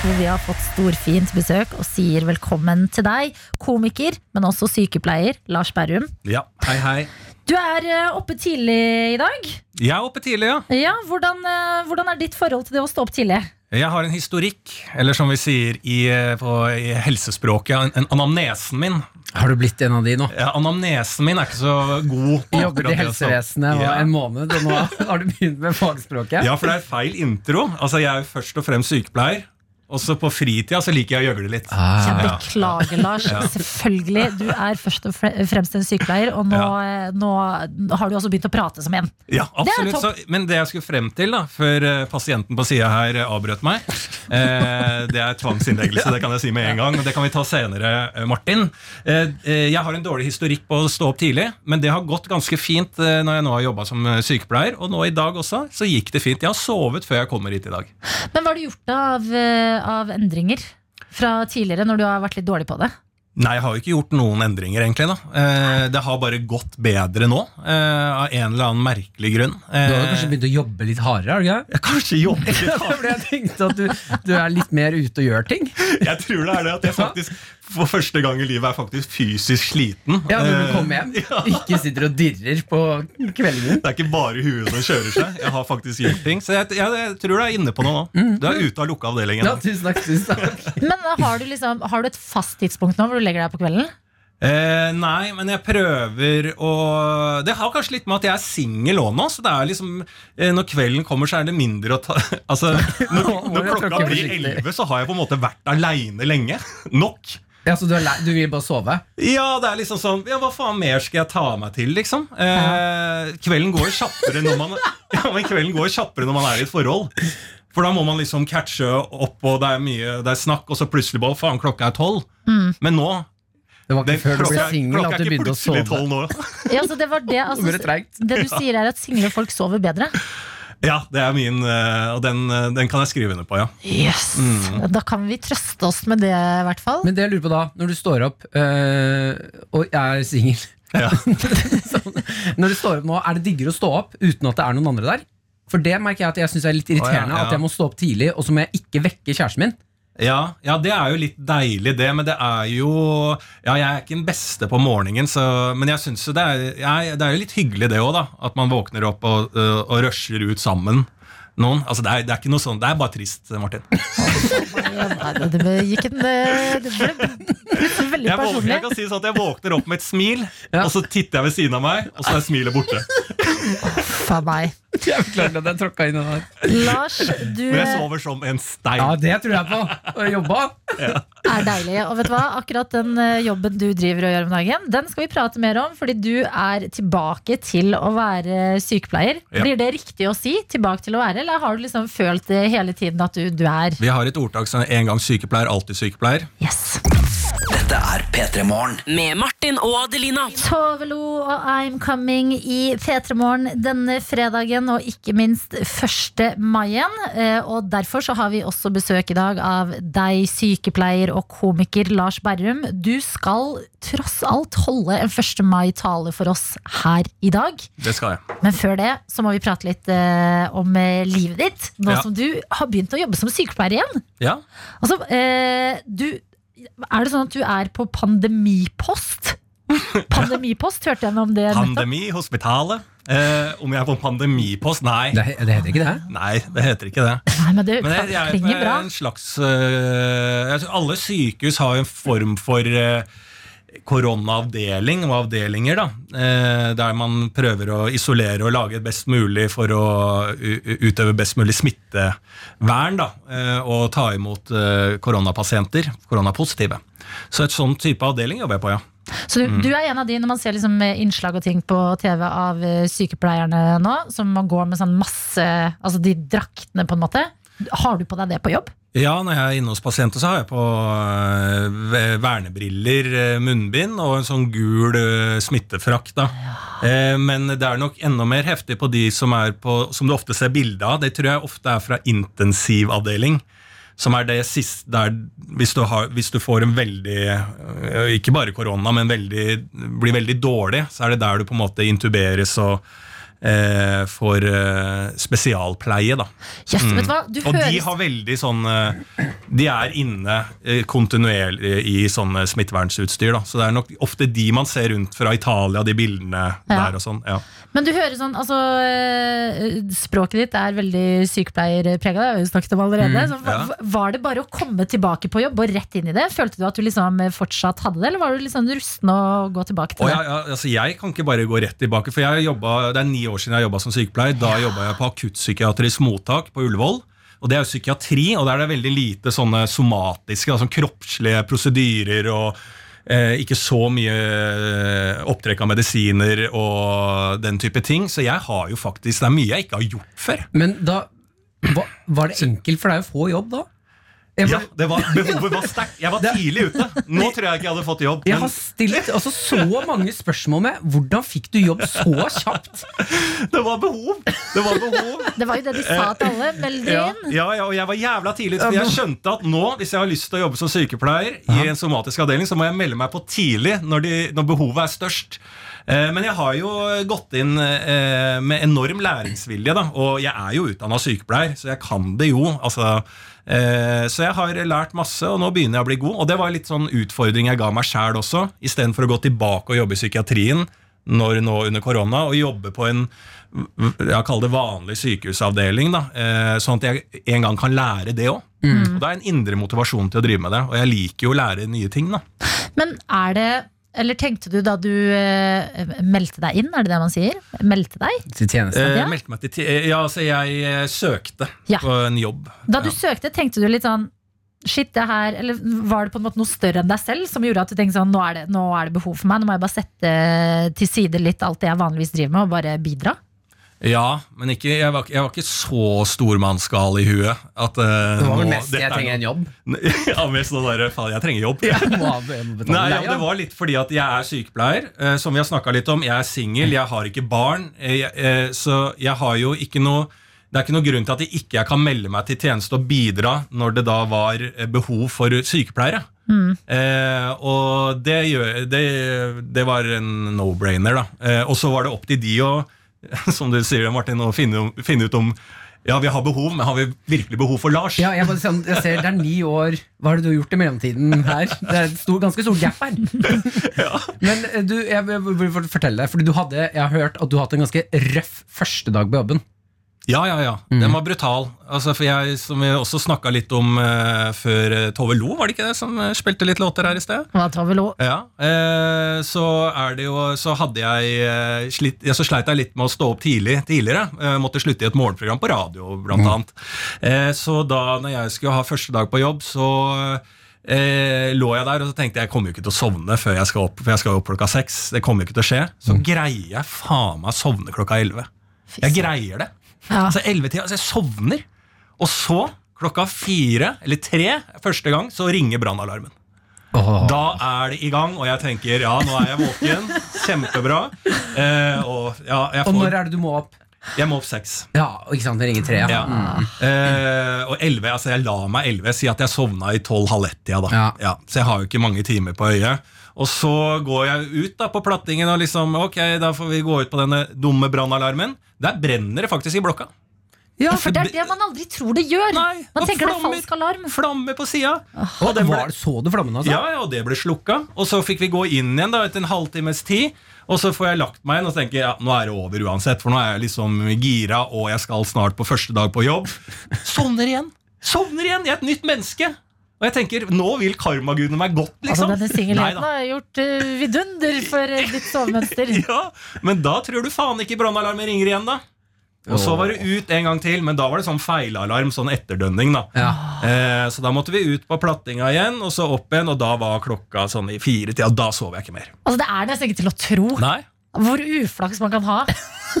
[SPEAKER 3] Hvor vi har fått storfint besøk og sier velkommen til deg, komiker, men også sykepleier, Lars Berrum.
[SPEAKER 11] Ja, hei hei.
[SPEAKER 3] Du er eh, oppe tidlig i dag.
[SPEAKER 11] Jeg er oppe tidlig, ja.
[SPEAKER 3] Ja, hvordan, eh, hvordan er ditt forhold til det å stå opp tidlig?
[SPEAKER 11] Jeg har en historikk, eller som vi sier i, eh, på, i helsespråket, en, en anamnesen min.
[SPEAKER 4] Har du blitt en av de nå?
[SPEAKER 11] Ja, anamnesen min er ikke så god. på
[SPEAKER 4] Jobbet i
[SPEAKER 11] akkurat det å stå-
[SPEAKER 4] helsevesenet nå
[SPEAKER 11] ja.
[SPEAKER 4] en måned, og nå har du begynt med fagspråket.
[SPEAKER 11] Ja, for det er feil intro. Altså, Jeg er jo først og fremst sykepleier. Også på fritida så liker jeg å gjøgle litt.
[SPEAKER 4] Ah.
[SPEAKER 3] Jeg
[SPEAKER 11] Ja.
[SPEAKER 3] beklager, Lars. Selvfølgelig. Du er først og fre- fremst en sykepleier, og nå, eh, nå har du også begynt å prate som en.
[SPEAKER 11] Ja, absolutt.
[SPEAKER 3] topp.
[SPEAKER 11] Så, men det jeg skulle frem til, da, før eh, pasienten på sida her eh, avbrøt meg, eh, det er tvangsinnleggelse. Det kan jeg si med en gang. og Det kan vi ta senere, eh, Martin. Eh, eh, jeg har en dårlig historikk på å stå opp tidlig, men det har gått ganske fint eh, når jeg nå har jobba som eh, sykepleier. Og nå i dag også, så gikk det fint. Jeg har sovet før jeg kommer hit i dag.
[SPEAKER 3] Men hva har du gjort av, eh, av endringer fra tidligere, når du har vært litt dårlig på det?
[SPEAKER 11] Nei, jeg har jo ikke gjort noen endringer, egentlig. da. Eh, det har bare gått bedre nå, eh, av en eller annen merkelig grunn. Eh,
[SPEAKER 4] Du har jo kanskje begynt å jobbe litt hardere? har du ikke?
[SPEAKER 11] jeg kanskje jobber litt
[SPEAKER 4] det? Fordi jeg tenkte at du, du er litt mer ute og gjør ting.
[SPEAKER 11] Jeg tror det er det at jeg faktisk for første gang i livet er faktisk fysisk sliten.
[SPEAKER 4] Ja, Når du
[SPEAKER 11] Eh,
[SPEAKER 4] kommer hjem. Ikke sitter og dirrer på kveldingen.
[SPEAKER 11] Det er ikke bare huet som kjører seg. Jeg har faktisk gjort ting. Så jeg, jeg, jeg tror du er inne på noe nå. Du er ute av lukka avdelingen.
[SPEAKER 4] Mm, Ja, tusen takk, tusen takk.
[SPEAKER 3] Men eh, har du, liksom, har du et fast tidspunkt nå hvor du legger deg på kvelden?
[SPEAKER 11] Eh, nei, men jeg prøver å Det har kanskje litt med at jeg er singel òg nå. Så det er liksom eh, Når kvelden kommer, så er det mindre å ta Altså, når,
[SPEAKER 4] Nå
[SPEAKER 11] når
[SPEAKER 4] må jeg
[SPEAKER 11] klokka
[SPEAKER 4] tråkke
[SPEAKER 11] blir
[SPEAKER 4] forsiktig.
[SPEAKER 11] elleve, så har jeg på en måte vært aleine lenge. Nok.
[SPEAKER 4] Ja, så du, er lei, du vil bare sove?
[SPEAKER 11] Ja, det er liksom sånn Ja, hva faen mer skal jeg ta meg til, liksom? Eh, kvelden går kjappere når man Ja, men kvelden går kjappere når man er i et forhold. For da må man liksom catche opp, og det er mye Det er snakk, og så plutselig bare Faen, klokka er tolv. Men nå
[SPEAKER 4] Det var ikke
[SPEAKER 11] den-
[SPEAKER 4] før du ble
[SPEAKER 11] klokka,
[SPEAKER 4] singel
[SPEAKER 11] klokka
[SPEAKER 4] at
[SPEAKER 11] er
[SPEAKER 4] du
[SPEAKER 11] ikke
[SPEAKER 4] begynte å
[SPEAKER 11] plutselig
[SPEAKER 4] sove.
[SPEAKER 11] tolv nå.
[SPEAKER 3] Ja, så det, var det, altså,
[SPEAKER 4] Nå blir det treigt.
[SPEAKER 3] det du sier, er at single folk sover bedre.
[SPEAKER 11] Ja, det er min eh, Og den, eh, den kan jeg skrive under på, ja.
[SPEAKER 3] Yes. Mm. Da kan vi trøste oss med det, i hvert fall.
[SPEAKER 4] Men det jeg lurer på da, når du står opp øh, og jeg er singel Sånn.
[SPEAKER 11] Ja.
[SPEAKER 4] Når du står opp nå, Er det diggere å stå opp uten at det er noen andre der? For det merker jeg at jeg syns er litt irriterende.
[SPEAKER 11] Å, ja, ja.
[SPEAKER 4] At jeg må stå opp tidlig, og så må jeg ikke vekke kjæresten min.
[SPEAKER 11] Ja, ja, det er jo litt deilig, det. Men det er jo Ja, jeg er ikke den beste på morgenen, så, men jeg syns jo det er, jeg, det er jo litt hyggelig, det òg, da. At man våkner opp og, øh, og rusher ut sammen. Noen. Altså, det er, det er ikke noe sånn, det er bare trist, Martin.
[SPEAKER 3] Nei, det- det ble- gikk en eh, Det ble plutselig veldig
[SPEAKER 11] Jeg, våkner,
[SPEAKER 3] personlig.
[SPEAKER 11] jeg kan si sånn at jeg våkner opp med et smil, og så titter jeg ved siden av meg, og så er smilet borte.
[SPEAKER 3] Faen meg.
[SPEAKER 4] Jeg beklager at jeg tråkka inn i det der.
[SPEAKER 3] Lars, du
[SPEAKER 11] Men jeg
[SPEAKER 3] eh,
[SPEAKER 11] sover som en stein.
[SPEAKER 4] Ja, det tror jeg på. Og jobba.
[SPEAKER 3] er deilig. Og vet du hva? Akkurat den eh, jobben du driver og gjør om dagen, den skal vi prate mer om, fordi du er tilbake til å være sykepleier.
[SPEAKER 11] Ja.
[SPEAKER 3] Blir det riktig å si? Tilbake til å være? Eller har du liksom følt det hele tiden at du, du er
[SPEAKER 11] Vi har et ordtak som er en gang sykepleier, alltid sykepleier.
[SPEAKER 1] Dette er P3 Morgen.
[SPEAKER 2] Med Martin og Adelina.
[SPEAKER 3] Tove Lo og I'm Coming i P3 Morgen denne fredagen, og ikke minst 1. mai igjen. Eh, Og derfor så har vi også besøk i dag av deg, sykepleier og komiker Lars Berrum. Du skal tross alt holde en 1. mai-tale for oss her i dag.
[SPEAKER 11] Det skal jeg.
[SPEAKER 3] Men før det så må vi prate litt eh, om eh, livet ditt, nå
[SPEAKER 11] Ja.
[SPEAKER 3] som du har begynt å jobbe som sykepleier igjen.
[SPEAKER 11] Ja.
[SPEAKER 3] Altså, eh, du Er det sånn at du er på pandemipost? Pandemipost, hørte jeg noe om det nettopp?
[SPEAKER 11] Pandemi, hospitalet. Eh, om jeg er på pandemipost? Nei.
[SPEAKER 4] Det, heter ikke det?
[SPEAKER 11] Nei, det heter ikke det.
[SPEAKER 3] Nei, men det
[SPEAKER 11] Men jeg, jeg,
[SPEAKER 3] klinger
[SPEAKER 11] jeg,
[SPEAKER 3] bra.
[SPEAKER 11] en slags øh, jeg tror Alle sykehus har jo en form for øh, koronaavdeling og avdelinger, da. Eh, der man prøver å isolere og lage best mulig for å u- u- utøve best mulig smittevern, da. eh, og ta imot eh, koronapasienter, koronapositive. Så et sånn type avdeling jobber jeg på, ja.
[SPEAKER 3] Så du,
[SPEAKER 11] Mm.
[SPEAKER 3] du er en av de, når man ser liksom eh, innslag og ting på TV av eh, sykepleierne nå, som man går med sånn masse Altså de draktene, på en måte. Har du på deg det på jobb?
[SPEAKER 11] Ja, når jeg er inne hos pasienter, så har jeg på øh, ve- vernebriller, øh, munnbind og en sånn gul øh, smittefrakk. da. Eh, Men det er nok enda mer heftig på de som, er på, som du ofte ser bilde av. Det tror jeg ofte er fra intensivavdeling. Som er det siste der hvis du, har, hvis du får en veldig øh, Ikke bare korona, men veldig, blir veldig dårlig, så er det der du på en måte intuberes og eh, får eh, spesialpleie, da.
[SPEAKER 3] Yes, vet du hva? Du
[SPEAKER 11] Mm. og de
[SPEAKER 3] høres-
[SPEAKER 11] har veldig sånn eh, De er inne eh, kontinuerlig i sånn eh, smittevernutstyr, da. Så det er nok ofte de man ser rundt fra Italia, de bildene
[SPEAKER 3] Ja.
[SPEAKER 11] der og sånn. Ja.
[SPEAKER 3] Men du hører sånn, altså eh, Språket ditt er veldig sykepleierprega, det har vi jo snakket om allerede.
[SPEAKER 11] Mm,
[SPEAKER 3] Så, hva-
[SPEAKER 11] ja.
[SPEAKER 3] Var det bare å komme tilbake på jobb og rett inn i det? Følte du at du liksom fortsatt hadde det, eller var du liksom rusten å gå tilbake til
[SPEAKER 11] Og
[SPEAKER 3] det?
[SPEAKER 11] jeg, jeg- altså jeg kan ikke bare gå rett tilbake, for jeg har jobbet, det er ni år siden jeg jobba som sykepleier. Da jobba jeg på akuttpsykiatrisk mottak på Ullevål. Og det er jo psykiatri, og der er det veldig lite sånne somatiske, altså kroppslige prosedyrer og eh, ikke så mye eh, opptrekk av medisiner og den type ting. Så jeg har jo faktisk Det er mye jeg ikke har gjort før.
[SPEAKER 4] Men da hva, Var det enkelt for deg å få jobb da? Jeg
[SPEAKER 11] Ja,
[SPEAKER 4] bare-
[SPEAKER 11] det var, Behovet var sterkt. Jeg var tidlig ute. Nå tror jeg ikke jeg hadde fått jobb.
[SPEAKER 4] Jeg
[SPEAKER 11] men-
[SPEAKER 4] har stilt altså, så mange spørsmål med hvordan fikk du jobb så kjapt?
[SPEAKER 11] Det var behov! Det var behov.
[SPEAKER 3] Det var jo det de sa til alle. Meld
[SPEAKER 11] Eh,
[SPEAKER 3] dere
[SPEAKER 11] Ja,
[SPEAKER 3] inn.
[SPEAKER 11] ja, ja, og jeg var jævla tidlig ute. for Jeg skjønte at nå, hvis jeg har lyst til å jobbe som sykepleier, i en somatisk avdeling, så må jeg melde meg på tidlig, når, de, når behovet er størst. Eh, Men jeg har jo gått inn eh, med enorm læringsvilje, da. og jeg er jo utdanna sykepleier, så jeg kan det jo. Altså, eh, så jeg har lært masse, og nå begynner jeg å bli god. Og det var litt sånn utfordring jeg ga meg sjæl også, istedenfor å gå tilbake og jobbe i psykiatrien når nå under korona, og jobbe på en jeg kaller det vanlig sykehusavdeling, da, eh, sånn at jeg en gang kan lære det òg.
[SPEAKER 4] Mm.
[SPEAKER 11] Og Det er en indre motivasjon til å drive med det, og jeg liker jo å lære nye ting. da.
[SPEAKER 3] Men er det Eller tenkte du da du eh, meldte deg inn, er det det man sier? Meldte deg?
[SPEAKER 11] Eh,
[SPEAKER 3] Ja.
[SPEAKER 11] meldte meg til ti- eh, ja, altså jeg eh, søkte
[SPEAKER 3] Ja.
[SPEAKER 11] på en jobb.
[SPEAKER 3] Da du
[SPEAKER 11] ja.
[SPEAKER 3] søkte, tenkte du litt sånn Shit, det her Eller var det på en måte noe større enn deg selv som gjorde at du tenkte sånn Nå er det, nå er det behov for meg, nå må jeg bare sette til side litt alt det jeg vanligvis driver med, og bare bidra?
[SPEAKER 11] Ja, men ikke, jeg, var, ikke- jeg var ikke så stormannsgal i huet. At, eh,
[SPEAKER 4] Det var vel
[SPEAKER 11] nå-
[SPEAKER 4] mest
[SPEAKER 11] dette
[SPEAKER 4] jeg
[SPEAKER 11] er
[SPEAKER 4] trenger en jobb.
[SPEAKER 11] noe- ja, mest sånn derre faen, jeg trenger jobb.
[SPEAKER 4] Jeg må ha- jeg må betale
[SPEAKER 11] Nei, ja,
[SPEAKER 4] leia.
[SPEAKER 11] det var litt fordi at jeg er sykepleier, eh, som vi har snakka litt om. Jeg er singel, jeg har ikke barn, eh, jeg- eh, så jeg har jo ikke noe det er ikke noe grunn til at jeg ikke kan melde meg til tjeneste og bidra når det da var eh, behov for sykepleiere. Eh, og det, gjør, det, det var en no-brainer, da. Eh, og så var det opp til de å som du sier, Martin, å finne, finne ut om Ja, vi har behov, men har vi virkelig behov for Lars?
[SPEAKER 4] Ja, jeg, bare, sånn, jeg ser Det er ni år. Hva har du gjort i mellomtiden her? Det er et stor, ganske stor gap her. Men eh, du, jeg vil fortelle deg, Fordi du hadde, jeg har hørt at du hadde en ganske røff første dag på jobben.
[SPEAKER 11] Ja, ja, ja. Den var brutal. Altså, for jeg, som vi også snakka litt om eh, før eh, Tove Lo, var det ikke det, som eh, spilte litt låter her i sted?
[SPEAKER 3] Da tar vi lov.
[SPEAKER 11] Ja, eh, så er det jo Så hadde jeg eh, slitt, ja, Så sleit jeg litt med å stå opp tidlig tidligere. Eh, måtte slutte i et morgenprogram på radio, blant annet. Eh, så da når jeg skulle ha første dag på jobb, så eh, lå jeg der og så tenkte jeg, jeg kommer jo ikke til å sovne før jeg skal opp, for jeg skal jo opp klokka seks. Det kommer jo ikke til å skje. Så greier jeg faen meg å sovne klokka elleve. Jeg greier det. Så ellevetida, så jeg sovner. Og så, klokka fire eller tre første gang, så ringer brannalarmen. Da er det i gang, og jeg tenker ja, nå er jeg våken. Kjempebra. Eh, og ja, jeg
[SPEAKER 4] Og
[SPEAKER 11] får
[SPEAKER 4] når er det du må opp?
[SPEAKER 11] Jeg må opp seks.
[SPEAKER 4] Ja, ikke sant, det ringer tre.
[SPEAKER 11] Ja.
[SPEAKER 4] Mm.
[SPEAKER 11] Eh, og 11, altså jeg la meg 11, si at jeg sovna i 12-halv ett-tida. da.
[SPEAKER 4] Ja.
[SPEAKER 11] Ja, så jeg har jo ikke mange timer på øyet. Og så går jeg ut da på plattingen og liksom, ok, da får vi gå ut på denne dumme brannalarmen. Der brenner det faktisk i blokka.
[SPEAKER 3] Ja, for det er det man aldri tror det gjør. man
[SPEAKER 11] og
[SPEAKER 3] tenker det er
[SPEAKER 11] flammer.
[SPEAKER 3] falsk alarm.
[SPEAKER 11] Flammer på sida.
[SPEAKER 4] Og det var, så du flammene, altså?
[SPEAKER 11] Ja, ja, og det ble slukka. Og så fikk vi gå inn igjen da, etter en halvtimes tid. Og så får jeg lagt meg inn og tenker ja, nå er det over uansett, for nå er jeg liksom gira, og jeg skal snart på første dag på jobb. Sovner igjen! Sovner igjen! Jeg er et nytt menneske! Og jeg tenker, nå vil karmagudene meg godt,
[SPEAKER 3] Altså,
[SPEAKER 11] liksom.
[SPEAKER 3] denne
[SPEAKER 11] Neida.
[SPEAKER 3] singelheten har gjort eh, vidunder for eh, ditt sovemønster.
[SPEAKER 11] Ja, men da tror du faen ikke brannalarmen ringer igjen, da. Og så var det ut en gang til, men da var det sånn feilalarm, sånn etterdønning, da. Eh, så da måtte vi ut på plattinga igjen, og så opp igjen, og da var klokka sånn i firetida, og da sov jeg ikke mer.
[SPEAKER 3] Altså, det er nesten ikke til å tro
[SPEAKER 11] Nei.
[SPEAKER 3] hvor uflaks man kan ha.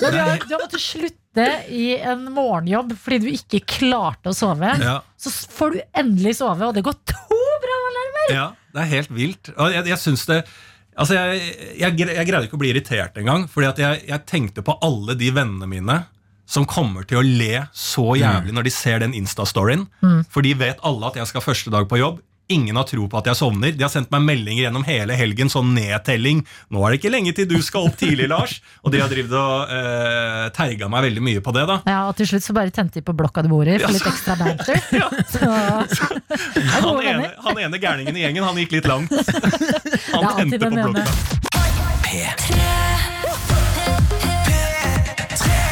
[SPEAKER 3] Ja, Du har, du har måttet slutte i en morgenjobb fordi du ikke klarte å sove.
[SPEAKER 11] Ja.
[SPEAKER 3] Så s- får du endelig sove, og det går to brannalarmer!
[SPEAKER 11] Ja, det er helt vilt. Og jeg, jeg syns det Altså, jeg, jeg, gre- jeg greide ikke å bli irritert engang, fordi at jeg, jeg tenkte på alle de vennene mine som kommer til å le så
[SPEAKER 3] Mm.
[SPEAKER 11] jævlig når de ser den Insta-storyen. For de vet alle at jeg skal første dag på jobb. Ingen har tro på at jeg sovner. De har sendt meg meldinger gjennom hele helgen, sånn nedtelling. 'Nå er det ikke lenge til du skal opp tidlig, Lars.' Og de har drevet og eh, terga meg veldig mye på det, da.
[SPEAKER 3] Ja, og til slutt så bare tente de på blokka du bor i, for litt ekstra banter. Så, er
[SPEAKER 11] Han
[SPEAKER 3] gode
[SPEAKER 11] ene,
[SPEAKER 3] venner.
[SPEAKER 11] han ene gærningen i gjengen, han gikk litt langt. Han
[SPEAKER 3] alltid
[SPEAKER 11] tente på
[SPEAKER 3] den ene.
[SPEAKER 11] blokka.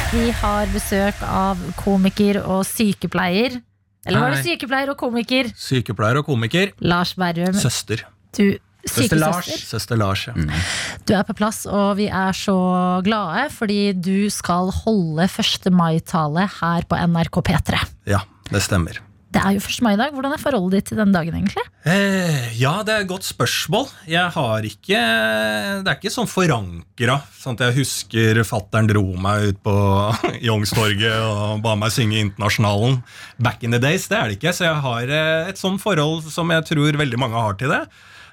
[SPEAKER 3] vi har besøk av komiker og sykepleier. Eller var det
[SPEAKER 11] Hei.
[SPEAKER 3] sykepleier og komiker?
[SPEAKER 11] Sykepleier og komiker.
[SPEAKER 3] Lars Berrum.
[SPEAKER 11] Søster.
[SPEAKER 3] Du, sykesøster.
[SPEAKER 11] Søster Lars, ja.
[SPEAKER 4] Mm.
[SPEAKER 3] Du er på plass, og vi er så glade fordi du skal holde 1. mai-tale her på NRK P3.
[SPEAKER 11] ja det stemmer.
[SPEAKER 3] Det er jo 1. mai i dag. Hvordan er forholdet ditt til denne dagen, egentlig?
[SPEAKER 11] Eh, ja, det er et godt spørsmål. Jeg har ikke Det er ikke sånn forankra. Sånn at jeg husker fattern dro meg ut på Youngstorget og ba meg synge Internasjonalen. Back in the days, det er det ikke. Så jeg har eh, et sånn forhold som jeg tror veldig mange har til det.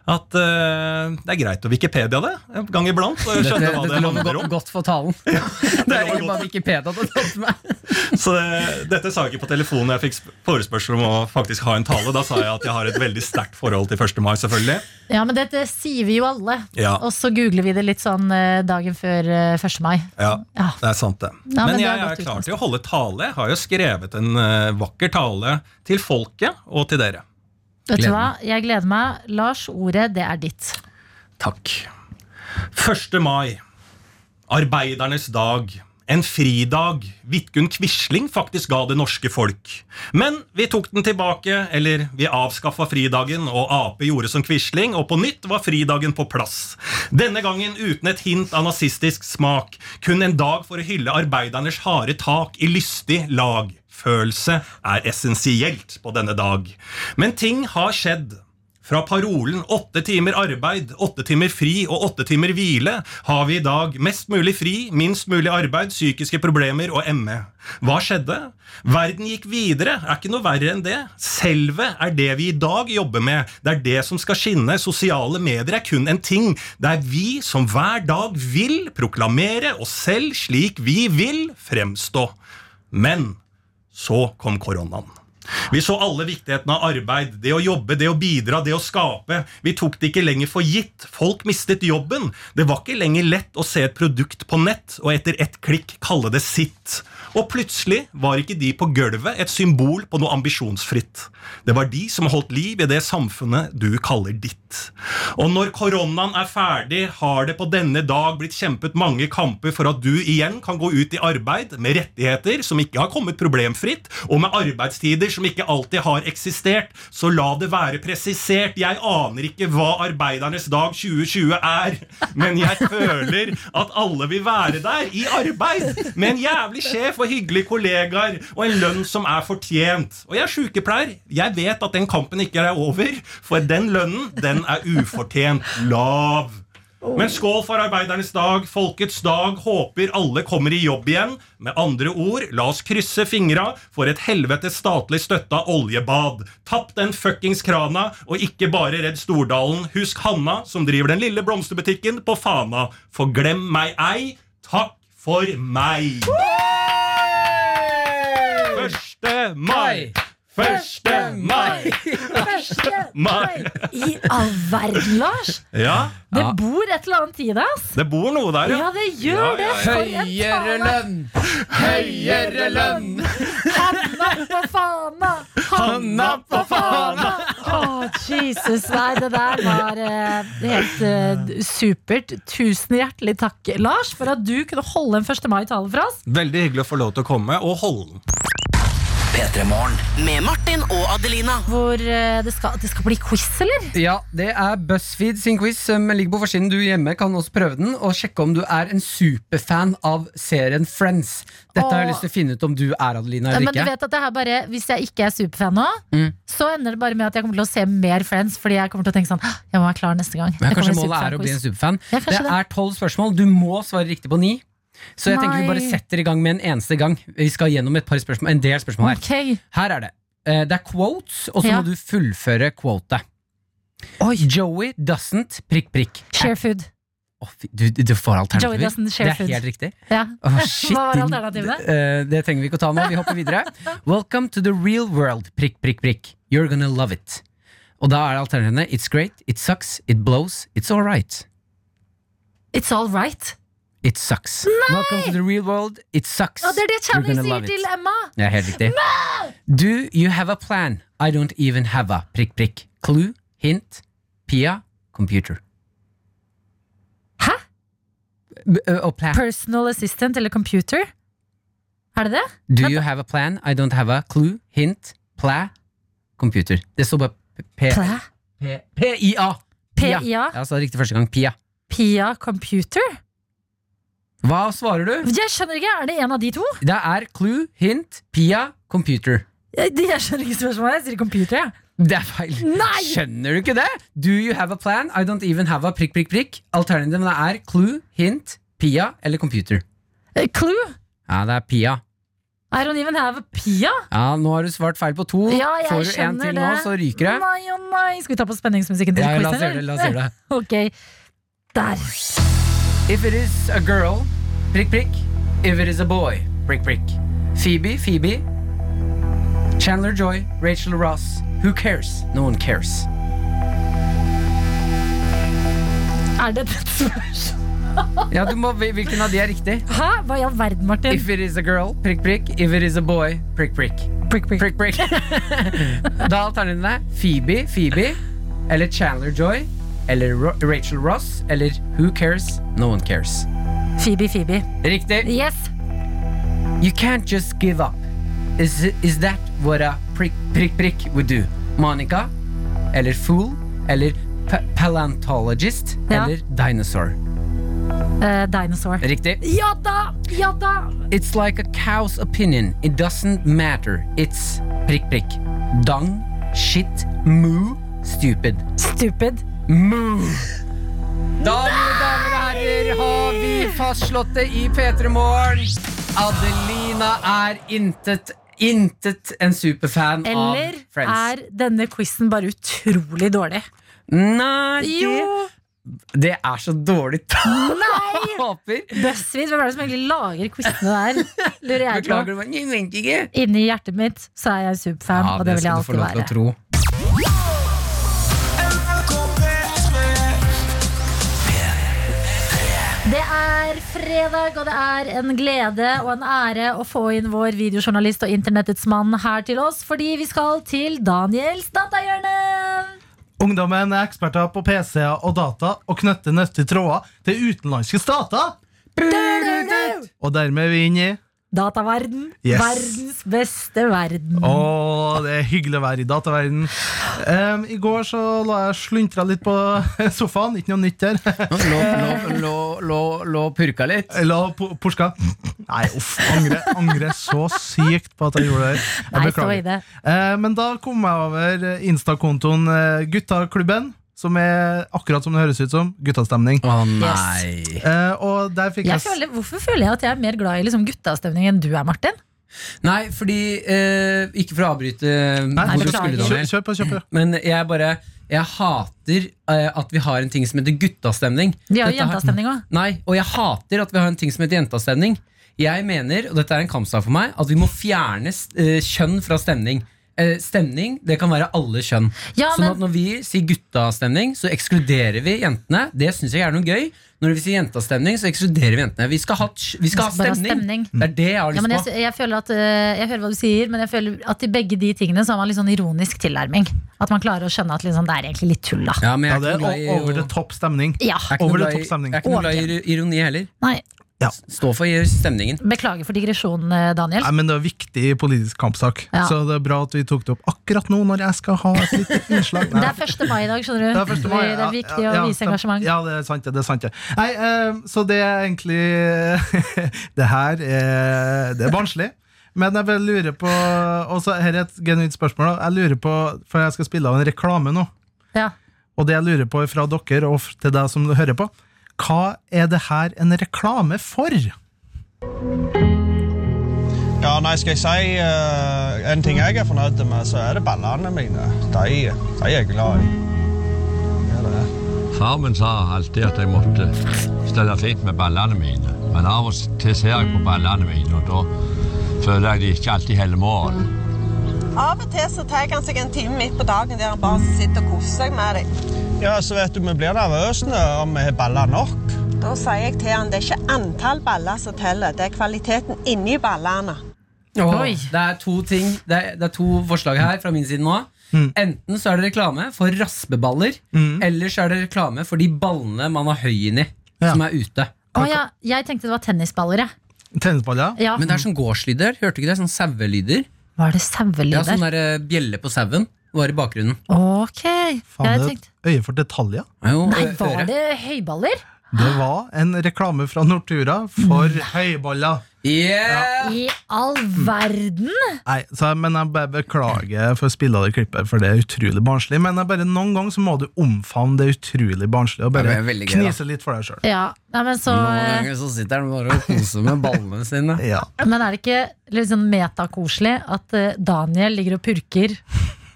[SPEAKER 11] At eh, det er greit å Wikipedia det en gang iblant. Og
[SPEAKER 4] Dette,
[SPEAKER 11] skjønne hva
[SPEAKER 4] dette
[SPEAKER 11] det
[SPEAKER 4] lover
[SPEAKER 11] handler
[SPEAKER 4] godt,
[SPEAKER 11] om.
[SPEAKER 4] godt for talen. det er
[SPEAKER 11] lover
[SPEAKER 4] egentlig bare Wikipedia du har tatt med.
[SPEAKER 11] Så det, dette sa jeg ikke på telefonen når jeg fikk sp- forespørsel om å faktisk ha en tale. Da sa jeg at jeg har et veldig sterkt forhold til 1. mai, selvfølgelig.
[SPEAKER 3] Ja, men dette sier vi jo alle.
[SPEAKER 11] Ja.
[SPEAKER 3] Og så googler vi det litt sånn eh, dagen før eh, 1. mai.
[SPEAKER 11] Ja,
[SPEAKER 3] Ja.
[SPEAKER 11] det er sant, det.
[SPEAKER 3] Ja,
[SPEAKER 11] men
[SPEAKER 3] men
[SPEAKER 11] jeg
[SPEAKER 3] det er godt
[SPEAKER 11] er klar
[SPEAKER 3] utgangspunkt.
[SPEAKER 11] til å holde tale. Jeg har jo skrevet en eh, vakker tale til folket og til dere.
[SPEAKER 3] Vet du
[SPEAKER 4] Gleder
[SPEAKER 3] hva? Jeg gleder meg. Lars, ordet, det er ditt.
[SPEAKER 11] Takk. 1. mai. Arbeidernes dag. En fridag Vidkun Quisling faktisk ga det norske folk. Men vi tok den tilbake, eller vi avskaffa fridagen, og Ap gjorde som Quisling, og på nytt var fridagen på plass. Denne gangen uten et hint av nazistisk smak. Kun en dag for å hylle arbeidernes harde tak i lystig lagfølelse er essensielt på denne dag. Men ting har skjedd. Fra parolen 'åtte timer arbeid, åtte timer fri og åtte timer hvile' har vi i dag mest mulig fri, minst mulig arbeid, psykiske problemer og ME. Hva skjedde? Verden gikk videre, er ikke noe verre enn det. Selvet er det vi i dag jobber med, det er det som skal skinne. Sosiale medier er kun en ting. Det er vi som hver dag vil proklamere oss selv slik vi vil fremstå. Men så kom koronaen. Vi så alle viktigheten av arbeid, det å jobbe, det å bidra, det å skape. Vi tok det ikke lenger for gitt. Folk mistet jobben. Det var ikke lenger lett å se et produkt på nett og etter ett klikk kalle det sitt. Og plutselig var ikke de på gulvet et symbol på noe ambisjonsfritt. Det var de som holdt liv i det samfunnet du kaller ditt. Og når koronaen er ferdig, har det på denne dag blitt kjempet mange kamper for at du igjen kan gå ut i arbeid med rettigheter som ikke har kommet problemfritt, og med arbeidstider som ikke alltid har eksistert. Så la det være presisert. Jeg aner ikke hva arbeidernes dag 2020 er, men jeg føler at alle vil være der, i arbeid, med en jævlig sjef og hyggelige kollegaer, og en lønn som er fortjent. Og jeg er sykepleier. Jeg vet at den kampen ikke er over, for den lønnen, den er ufortjent lav. Men skål for arbeidernes dag, folkets dag. Håper alle kommer i jobb igjen. Med andre ord, la oss krysse fingra for et helvetes statlig støtta oljebad. Tapp den fuckings krana, og ikke bare redd Stordalen. Husk Hanna, som driver den lille blomsterbutikken på Fana. For glem meg ei. Takk for meg. Første mai. Første mai.
[SPEAKER 3] Første
[SPEAKER 11] mai.
[SPEAKER 3] I all verden, Lars!
[SPEAKER 11] Ja,
[SPEAKER 3] Det bor et eller annet i deg, ass.
[SPEAKER 11] det bor noe der,
[SPEAKER 3] Ja, det gjør det. For en
[SPEAKER 4] Høyere
[SPEAKER 3] tale.
[SPEAKER 4] lønn! Høyere lønn!
[SPEAKER 3] Hanna på fana!
[SPEAKER 4] Hanna på fana!
[SPEAKER 3] Å, Jesus. Nei, det der var eh, helt eh, supert. Tusen hjertelig takk, Lars, for at du kunne holde en 1. mai-tale for oss.
[SPEAKER 11] Veldig hyggelig å få lov til å komme og holde den.
[SPEAKER 2] Med Martin og Adelina.
[SPEAKER 3] Hvor eh, det, skal, det skal bli quiz, eller?
[SPEAKER 4] Ja, det er BuzzFeed sin quiz, eh, men ligger på forsiden. Du hjemme kan også prøve den, og sjekke om du er en superfan av serien Friends. Dette har jeg
[SPEAKER 3] Åh.
[SPEAKER 4] lyst til å finne ut om du er Adelina
[SPEAKER 3] Ja,
[SPEAKER 4] eller
[SPEAKER 3] men du
[SPEAKER 4] ikke.
[SPEAKER 3] vet at det her bare, Hvis jeg ikke er superfan nå,
[SPEAKER 4] Mm.
[SPEAKER 3] så ender det bare med at jeg kommer til å se mer Friends. Fordi jeg kommer til å tenke sånn «Hå, Jeg må være klar neste gang.
[SPEAKER 4] Men
[SPEAKER 3] Jeg
[SPEAKER 4] kanskje
[SPEAKER 3] kommer til
[SPEAKER 4] målet er å bli en
[SPEAKER 3] superfan-quiz».
[SPEAKER 4] superfan.
[SPEAKER 3] Ja, kanskje
[SPEAKER 4] det
[SPEAKER 3] det.
[SPEAKER 4] er tolv spørsmål. Du må svare riktig på ni. Så jeg tenker vi bare
[SPEAKER 3] Nei.
[SPEAKER 4] setter i gang med en eneste gang. Vi skal gjennom et par spørsmål, en del spørsmål her.
[SPEAKER 3] Ok.
[SPEAKER 4] Her er det. Eh, Det er quotes, og så
[SPEAKER 3] Ja.
[SPEAKER 4] må du fullføre quotet. Joey doesn't prikk, prikk.
[SPEAKER 3] Share food.
[SPEAKER 4] Å, fy- du, du får alternativer.
[SPEAKER 3] Joey doesn't share
[SPEAKER 4] det
[SPEAKER 3] food.
[SPEAKER 4] er helt riktig.
[SPEAKER 3] Ja.
[SPEAKER 4] Å, shit,
[SPEAKER 3] Hva var
[SPEAKER 4] din-
[SPEAKER 3] alternativene?
[SPEAKER 4] eh, det trenger vi ikke å ta med. Vi hopper videre. Welcome to the real world. Prikk, prikk, prikk. You're gonna love it. Og da er alternativene It's great, it sucks, it blows, it's alright.
[SPEAKER 3] It's all right.
[SPEAKER 4] It sucks. Welcome to the real world. It sucks.
[SPEAKER 3] Å, det er det
[SPEAKER 4] You're
[SPEAKER 3] Channing
[SPEAKER 4] gonna love
[SPEAKER 3] sier
[SPEAKER 4] it.
[SPEAKER 3] til Emma.
[SPEAKER 4] Det er helt riktig. Do you have a plan? I don't even have a prikk, prikk. Clue, hint, Pia, computer.
[SPEAKER 3] Hæ?
[SPEAKER 4] B- ø, Og plan.
[SPEAKER 3] Personal assistant eller computer? Er det det?
[SPEAKER 4] Do you have a plan? I don't have a clue. Hint. Pla. Computer. Det står bare P-
[SPEAKER 3] Plæ?
[SPEAKER 4] P- P-I-A.
[SPEAKER 3] PIA?
[SPEAKER 4] Jeg sa det riktig første gang. Pia.
[SPEAKER 3] Pia Computer?
[SPEAKER 4] Hva svarer du?
[SPEAKER 3] Jeg skjønner ikke, er det en av de to?
[SPEAKER 4] Det er clue, hint, Pia, computer.
[SPEAKER 3] Jeg, jeg skjønner ikke spørsmålet, jeg sier computer, jeg.
[SPEAKER 4] Det er feil.
[SPEAKER 3] Nei!
[SPEAKER 4] Skjønner du ikke det? Do you have a plan? I don't even have a prikk, prikk, prikk. Alternativene er clue, hint, Pia eller computer.
[SPEAKER 3] Eh, Clue?
[SPEAKER 4] Ja, det er Pia.
[SPEAKER 3] I don't even have a Pia?
[SPEAKER 4] Ja, nå har du svart feil på to.
[SPEAKER 3] Ja, jeg
[SPEAKER 4] Får du en
[SPEAKER 3] skjønner
[SPEAKER 4] til
[SPEAKER 3] det.
[SPEAKER 4] nå, så ryker det.
[SPEAKER 3] Nei, å nei. Skal vi ta på spenningsmusikken til
[SPEAKER 4] Ja, la
[SPEAKER 3] quizen,
[SPEAKER 4] oss gjøre det. La oss gjøre det.
[SPEAKER 3] Ok. Der.
[SPEAKER 4] If it is a girl, prikk, prikk. If it is a boy, prikk, prikk. Phoebe, Phoebe. Chandler Joy, Rachel Ross. Who cares? No one cares.
[SPEAKER 3] Er det et spørsmål?
[SPEAKER 4] Ja, du må, Hvilken av de er riktig?
[SPEAKER 3] Hæ? Hva i all verden, Martin?
[SPEAKER 4] If it is a girl, prikk, prikk. If it is a boy, prikk, prikk.
[SPEAKER 3] Prikk, prikk.
[SPEAKER 4] Prikk, prikk. da er alternativene Phoebe, Phoebe. Eller Chandler Joy. Eller Ro Rachel Ross. Eller Who cares? No one cares.
[SPEAKER 3] Phoebe, Phoebe.
[SPEAKER 4] Riktig.
[SPEAKER 3] Yes.
[SPEAKER 4] You can't just give up. Is, is that what a prick, prick, prick would do? Monica? Eller fool? Eller pa paleontologist?
[SPEAKER 3] Ja.
[SPEAKER 4] Eller dinosaur?
[SPEAKER 3] Eh, dinosaur.
[SPEAKER 4] Riktig.
[SPEAKER 3] Ja da! Ja da!
[SPEAKER 4] It's like a cow's opinion. It doesn't matter. It's prick, prick. Dung, shit, moo, stupid.
[SPEAKER 3] Stupid.
[SPEAKER 4] Moo! Da, mine damer og herrer, har vi fastslått det i P3 Morgen. Adelina er intet, intet en superfan
[SPEAKER 3] Eller
[SPEAKER 4] av Friends.
[SPEAKER 3] er denne quizen bare utrolig dårlig?
[SPEAKER 4] Nei, det
[SPEAKER 3] Jo.
[SPEAKER 4] Det er så dårlig tall! Håper.
[SPEAKER 3] BuzzFeed, hvem er det som egentlig lager quizene der? Lurer jeg
[SPEAKER 4] Beklager,
[SPEAKER 3] på. Inni hjertet mitt så er jeg superfan, og det vil jeg alltid være.
[SPEAKER 4] tro.
[SPEAKER 3] Det er fredag, og det er en glede og en ære å få inn vår videojournalist og internettets mann her til oss, fordi vi skal til Daniels datahjørne!
[SPEAKER 11] Ungdommen er eksperter på PC-er og data og knytter nøttige tråder til utenlandske stater. Og dermed er vi inne i
[SPEAKER 3] Dataverden.
[SPEAKER 11] Yes.
[SPEAKER 3] Verdens beste verden.
[SPEAKER 11] Å, det er hyggelig å være i dataverden. Em, I går så la jeg sluntra litt på sofaen. Ikke noe nytt der.
[SPEAKER 4] Lå, lå, lå, lå purka litt?
[SPEAKER 11] La po porska. Nei, uff. Angrer, angrer så sykt på at jeg gjorde det. her. Jeg
[SPEAKER 3] Nei, stå i
[SPEAKER 11] beklager.
[SPEAKER 3] det.
[SPEAKER 11] Eh, Men da kom jeg over Insta-kontoen eh, Guttaklubben, som er akkurat som det høres ut som. Guttastemning.
[SPEAKER 4] Å
[SPEAKER 3] nei.
[SPEAKER 11] Eh, Og der fikk
[SPEAKER 3] Jeg
[SPEAKER 11] jeg, s-
[SPEAKER 3] føler, hvorfor føler jeg at jeg er mer glad i liksom guttastemning enn du er, Martin?
[SPEAKER 4] Nei, fordi eh, Ikke for å avbryte hvor du skulle,
[SPEAKER 11] Kjør,
[SPEAKER 4] Daniel.
[SPEAKER 11] kjør på, kjør på.
[SPEAKER 4] Men jeg bare Jeg hater eh, at vi har en ting som heter guttastemning.
[SPEAKER 3] De har jo
[SPEAKER 4] Dette har-
[SPEAKER 3] jentastemning òg.
[SPEAKER 4] Nei, og jeg hater at vi har en ting som heter jentastemning. Jeg mener, og dette er en kampsak for meg, at vi må fjerne eh, kjønn fra stemning. Eh, stemning det kan være alle kjønn.
[SPEAKER 3] Ja,
[SPEAKER 4] sånn
[SPEAKER 3] men-
[SPEAKER 4] at Når vi sier guttastemning, så ekskluderer vi jentene. Det syns jeg er noe gøy. Når vi sier jentastemning, så ekskluderer vi jentene. Vi skal ha, t- vi skal ha
[SPEAKER 3] Bare ha stemning.
[SPEAKER 4] stemning. Det er det jeg har
[SPEAKER 3] Ja,
[SPEAKER 4] lyst
[SPEAKER 3] men jeg,
[SPEAKER 4] på.
[SPEAKER 3] jeg, føler at, øh, jeg hører hva du sier, men jeg føler at i begge de tingene så har man litt sånn ironisk tilnærming. At man klarer å skjønne at liksom, det er egentlig litt tull, da.
[SPEAKER 4] Ja, men
[SPEAKER 11] Ja,
[SPEAKER 4] jeg
[SPEAKER 11] det
[SPEAKER 4] er ikke
[SPEAKER 11] er
[SPEAKER 4] noe glad i
[SPEAKER 11] o- over the
[SPEAKER 4] å-
[SPEAKER 11] top stemning.
[SPEAKER 3] Ja,
[SPEAKER 4] jeg er ikke noe
[SPEAKER 11] over the
[SPEAKER 4] glad i-
[SPEAKER 11] top stemning.
[SPEAKER 4] Jeg er ikke noe glad i ir- ironi heller.
[SPEAKER 3] nei,
[SPEAKER 4] Stå for stemningen.
[SPEAKER 3] Beklager for digresjonen, øh, Daniel.
[SPEAKER 11] Nei, men Det er en viktig politisk kampsak,
[SPEAKER 3] Ja.
[SPEAKER 11] så det er bra at vi tok det opp akkurat nå når jeg skal ha et lite innslag. Nei.
[SPEAKER 3] Det er 1. mai i dag, skjønner du.
[SPEAKER 11] Det er første mai,
[SPEAKER 3] Det
[SPEAKER 11] ja,
[SPEAKER 3] er viktig
[SPEAKER 11] ja, ja,
[SPEAKER 3] å vise
[SPEAKER 11] stem-
[SPEAKER 3] engasjement.
[SPEAKER 11] Ja, det er sant. det, det er sant det. Nei, eh, Så det er egentlig Det her er, det er barnslig. Men jeg bare lurer på Og så her er et genuint spørsmål. da. Jeg lurer på, For jeg skal spille av en reklame nå.
[SPEAKER 3] Ja.
[SPEAKER 11] Og det jeg lurer på fra dere og til deg som hører på, hva er det her en reklame for?
[SPEAKER 5] Ja, nei, skal jeg si eh, en ting jeg er fornøyd med, så er det ballene mine. De, de er jeg glad i. Ja, det er.
[SPEAKER 9] Far min sa alltid at jeg måtte stelle fint med ballene mine. Men av og til ser jeg på ballene mine, og da føler jeg de ikke alltid holder mål.
[SPEAKER 2] Av og til så tar han seg en time midt på dagen der han bare sitter og koser seg med deg.
[SPEAKER 5] Ja, så vet du, vi blir nervøse nå om vi har baller nok.
[SPEAKER 2] Da sier jeg til han det er ikke antall baller som teller, det er kvaliteten inni ballene.
[SPEAKER 4] Åh, det er to ting det er, det er to forslag her fra min side nå.
[SPEAKER 3] Mm.
[SPEAKER 4] Enten så er det reklame for raspeballer, eller så er det reklame for de ballene man har høy inni, som er ute.
[SPEAKER 3] Å ja, jeg tenkte det var tennisballer, jeg.
[SPEAKER 11] Tennisballer?
[SPEAKER 3] Ja.
[SPEAKER 4] Men det er sånn gårdslyder. Hørte du ikke det? Sånn sauelyder.
[SPEAKER 3] Hva er det sauelyder?
[SPEAKER 4] Ja, sånn der eh, bjelle på sauen var i bakgrunnen.
[SPEAKER 3] Ok.
[SPEAKER 11] Faen,
[SPEAKER 3] jeg
[SPEAKER 11] det er
[SPEAKER 3] tenkte,
[SPEAKER 11] et øye for detaljer.
[SPEAKER 4] Jo, eh,
[SPEAKER 3] nei,
[SPEAKER 4] ø-
[SPEAKER 3] var
[SPEAKER 4] øre.
[SPEAKER 3] det høyballer?
[SPEAKER 11] Det var en reklame fra Nortura for høyballer.
[SPEAKER 4] Yeah!
[SPEAKER 3] I all verden!
[SPEAKER 11] Nei, så, jeg- men jeg bare beklager for å spille av det klippet, for det er utrolig barnslig. Men jeg bare, noen ganger så må du omfavne det utrolig barnslige og bare
[SPEAKER 4] Ja, det er veldig gøy, da.
[SPEAKER 11] knise litt for deg sjøl.
[SPEAKER 3] Ja, nei, men så eh,
[SPEAKER 4] Noen ganger så sitter han bare og koser med ballene sine.
[SPEAKER 11] Ja.
[SPEAKER 3] Men er det ikke litt sånn metakoselig at eh, Daniel ligger og purker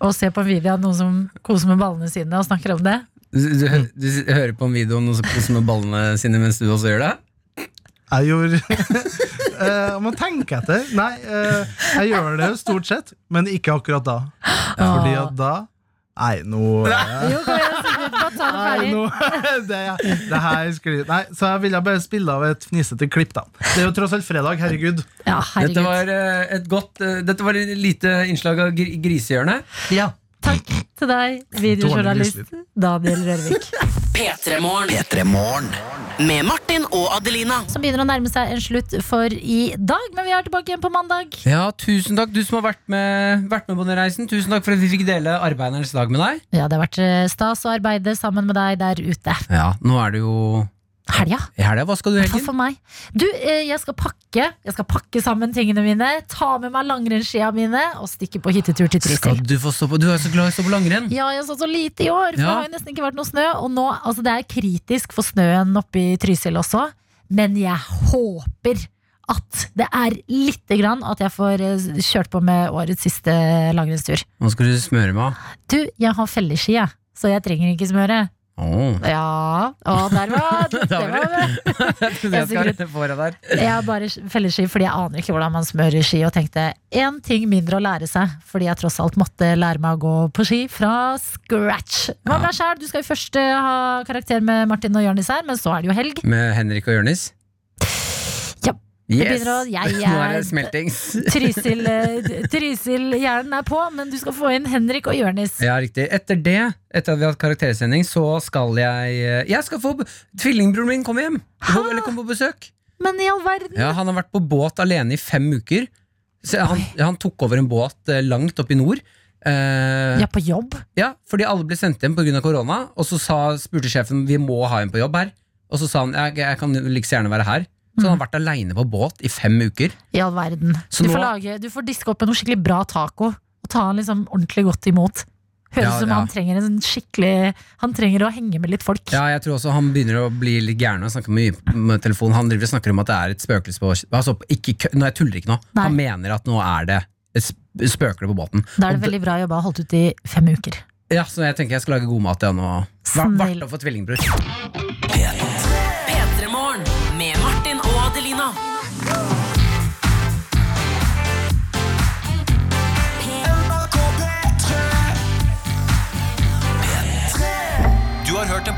[SPEAKER 3] og ser på en video av noen som koser med ballene sine og snakker om det?
[SPEAKER 4] Du, du, hø- du s- hører på en video om noen som koser med ballene sine mens du også gjør det?
[SPEAKER 11] Jeg gjorde Eh, Om man tenker etter Nei, eh, jeg gjør det jo stort sett, men ikke akkurat da. Fordi at da Nei, nå eh,
[SPEAKER 3] Jo, kom igjen, Sigrid, bare ta det
[SPEAKER 11] Nei,
[SPEAKER 3] ferdig.
[SPEAKER 11] nå, det, det her sklir Nei, så jeg ville bare spille av et fnisete klipp, da. Det er jo tross alt fredag, herregud.
[SPEAKER 3] Ja,
[SPEAKER 4] Dette
[SPEAKER 3] herregud.
[SPEAKER 4] var, eh, et godt, eh, dette var et lite innslag av gr grisehjørnet.
[SPEAKER 11] Ja.
[SPEAKER 3] Takk til deg, videojournalist Daniel Rørvik.
[SPEAKER 12] P3morgen. Med Martin og Adelina.
[SPEAKER 3] Som begynner å nærme seg en slutt for i dag, men vi er tilbake igjen på mandag.
[SPEAKER 4] Ja, tusen takk du som har vært med, vært med på denne reisen. Tusen takk for at vi fikk dele arbeidernes dag med deg.
[SPEAKER 3] Ja, det har vært eh, stas å arbeide sammen med deg der ute.
[SPEAKER 4] Ja, nå er det jo
[SPEAKER 3] Helga.
[SPEAKER 4] i helga. Hva skal du i
[SPEAKER 3] Hva
[SPEAKER 4] helgen?
[SPEAKER 3] for meg? Du, eh, jeg skal pakke Jeg skal pakke sammen tingene mine, ta med meg langrennsskia mine og stikke på hyttetur til
[SPEAKER 4] Skal
[SPEAKER 3] Trysil.
[SPEAKER 4] du få stå på? Du er så glad i å stå på langrenn.
[SPEAKER 3] Ja, jeg så så lite i år, for
[SPEAKER 4] Ja.
[SPEAKER 3] det har jo nesten ikke vært noe snø. Og nå, altså Det er kritisk for snøen oppe i Trysil også, men jeg håper at det er lite grann at jeg får eh, kjørt på med årets siste langrennstur.
[SPEAKER 4] Nå skal du smøre meg.
[SPEAKER 3] Du, jeg har felleski, jeg, så jeg trenger ikke smøre. Ja, og der var det. var
[SPEAKER 4] Jeg skal
[SPEAKER 3] Sigrid.
[SPEAKER 4] rette foran der.
[SPEAKER 3] Jeg bare feller ski fordi jeg aner ikke hvordan man smører ski, og tenkte én ting mindre å lære seg, fordi jeg tross alt måtte lære meg å gå på ski fra scratch. Hva med deg selv? Du skal jo først eh, ha karakter med Martin og Jonis her, men så er det jo helg.
[SPEAKER 4] Med Henrik og Jonis?
[SPEAKER 3] Ja. Det
[SPEAKER 4] Yes.
[SPEAKER 3] begynner å, jeg
[SPEAKER 4] Nå er det
[SPEAKER 3] er
[SPEAKER 4] smeltings.
[SPEAKER 3] Trysil, eh, Trysil-hjernen er på, men du skal få inn Henrik og Jonis.
[SPEAKER 4] Ja, riktig. Etter det, etter at vi har hatt karaktersending, så skal jeg eh, Jeg skal få Tvillingbroren min komme hjem! Kom- Eller komme på besøk.
[SPEAKER 3] Men i all verden!
[SPEAKER 4] Ja, han har vært på båt alene i fem uker. Så han, han tok over en båt eh, langt oppe i nord. Eh,
[SPEAKER 3] Ja, på jobb?
[SPEAKER 4] Ja, fordi alle ble sendt hjem pga. korona. Og så sa, spurte sjefen vi må ha en på jobb her. Og så sa han jeg, jeg kan like så gjerne være her. Så han har vært aleine på båt i fem uker.
[SPEAKER 3] I all verden.
[SPEAKER 4] Så
[SPEAKER 3] Du får,
[SPEAKER 4] nå-
[SPEAKER 3] lage, du får diske opp med noe skikkelig bra taco, og ta han liksom ordentlig godt imot. Høres
[SPEAKER 4] Ja,
[SPEAKER 3] ut som
[SPEAKER 4] ja.
[SPEAKER 3] han trenger en sånn skikkelig Han trenger å henge med litt folk.
[SPEAKER 4] Ja, jeg tror også han begynner å bli litt gæren og snakke mye med telefonen. Han driver og snakker om at det er et spøkelse på altså, ikke, kø- nå, Jeg tuller ikke nå. Han mener at nå er det et sp- spøkelse på båten.
[SPEAKER 3] Da er
[SPEAKER 4] Og
[SPEAKER 3] det veldig bra jobba, holdt ut i fem uker.
[SPEAKER 4] Ja, så jeg tenker jeg skal lage god mat igjen og Vart å få tvillingbror.
[SPEAKER 2] P3morgen med Martin og Adelina.
[SPEAKER 13] Du har hørt en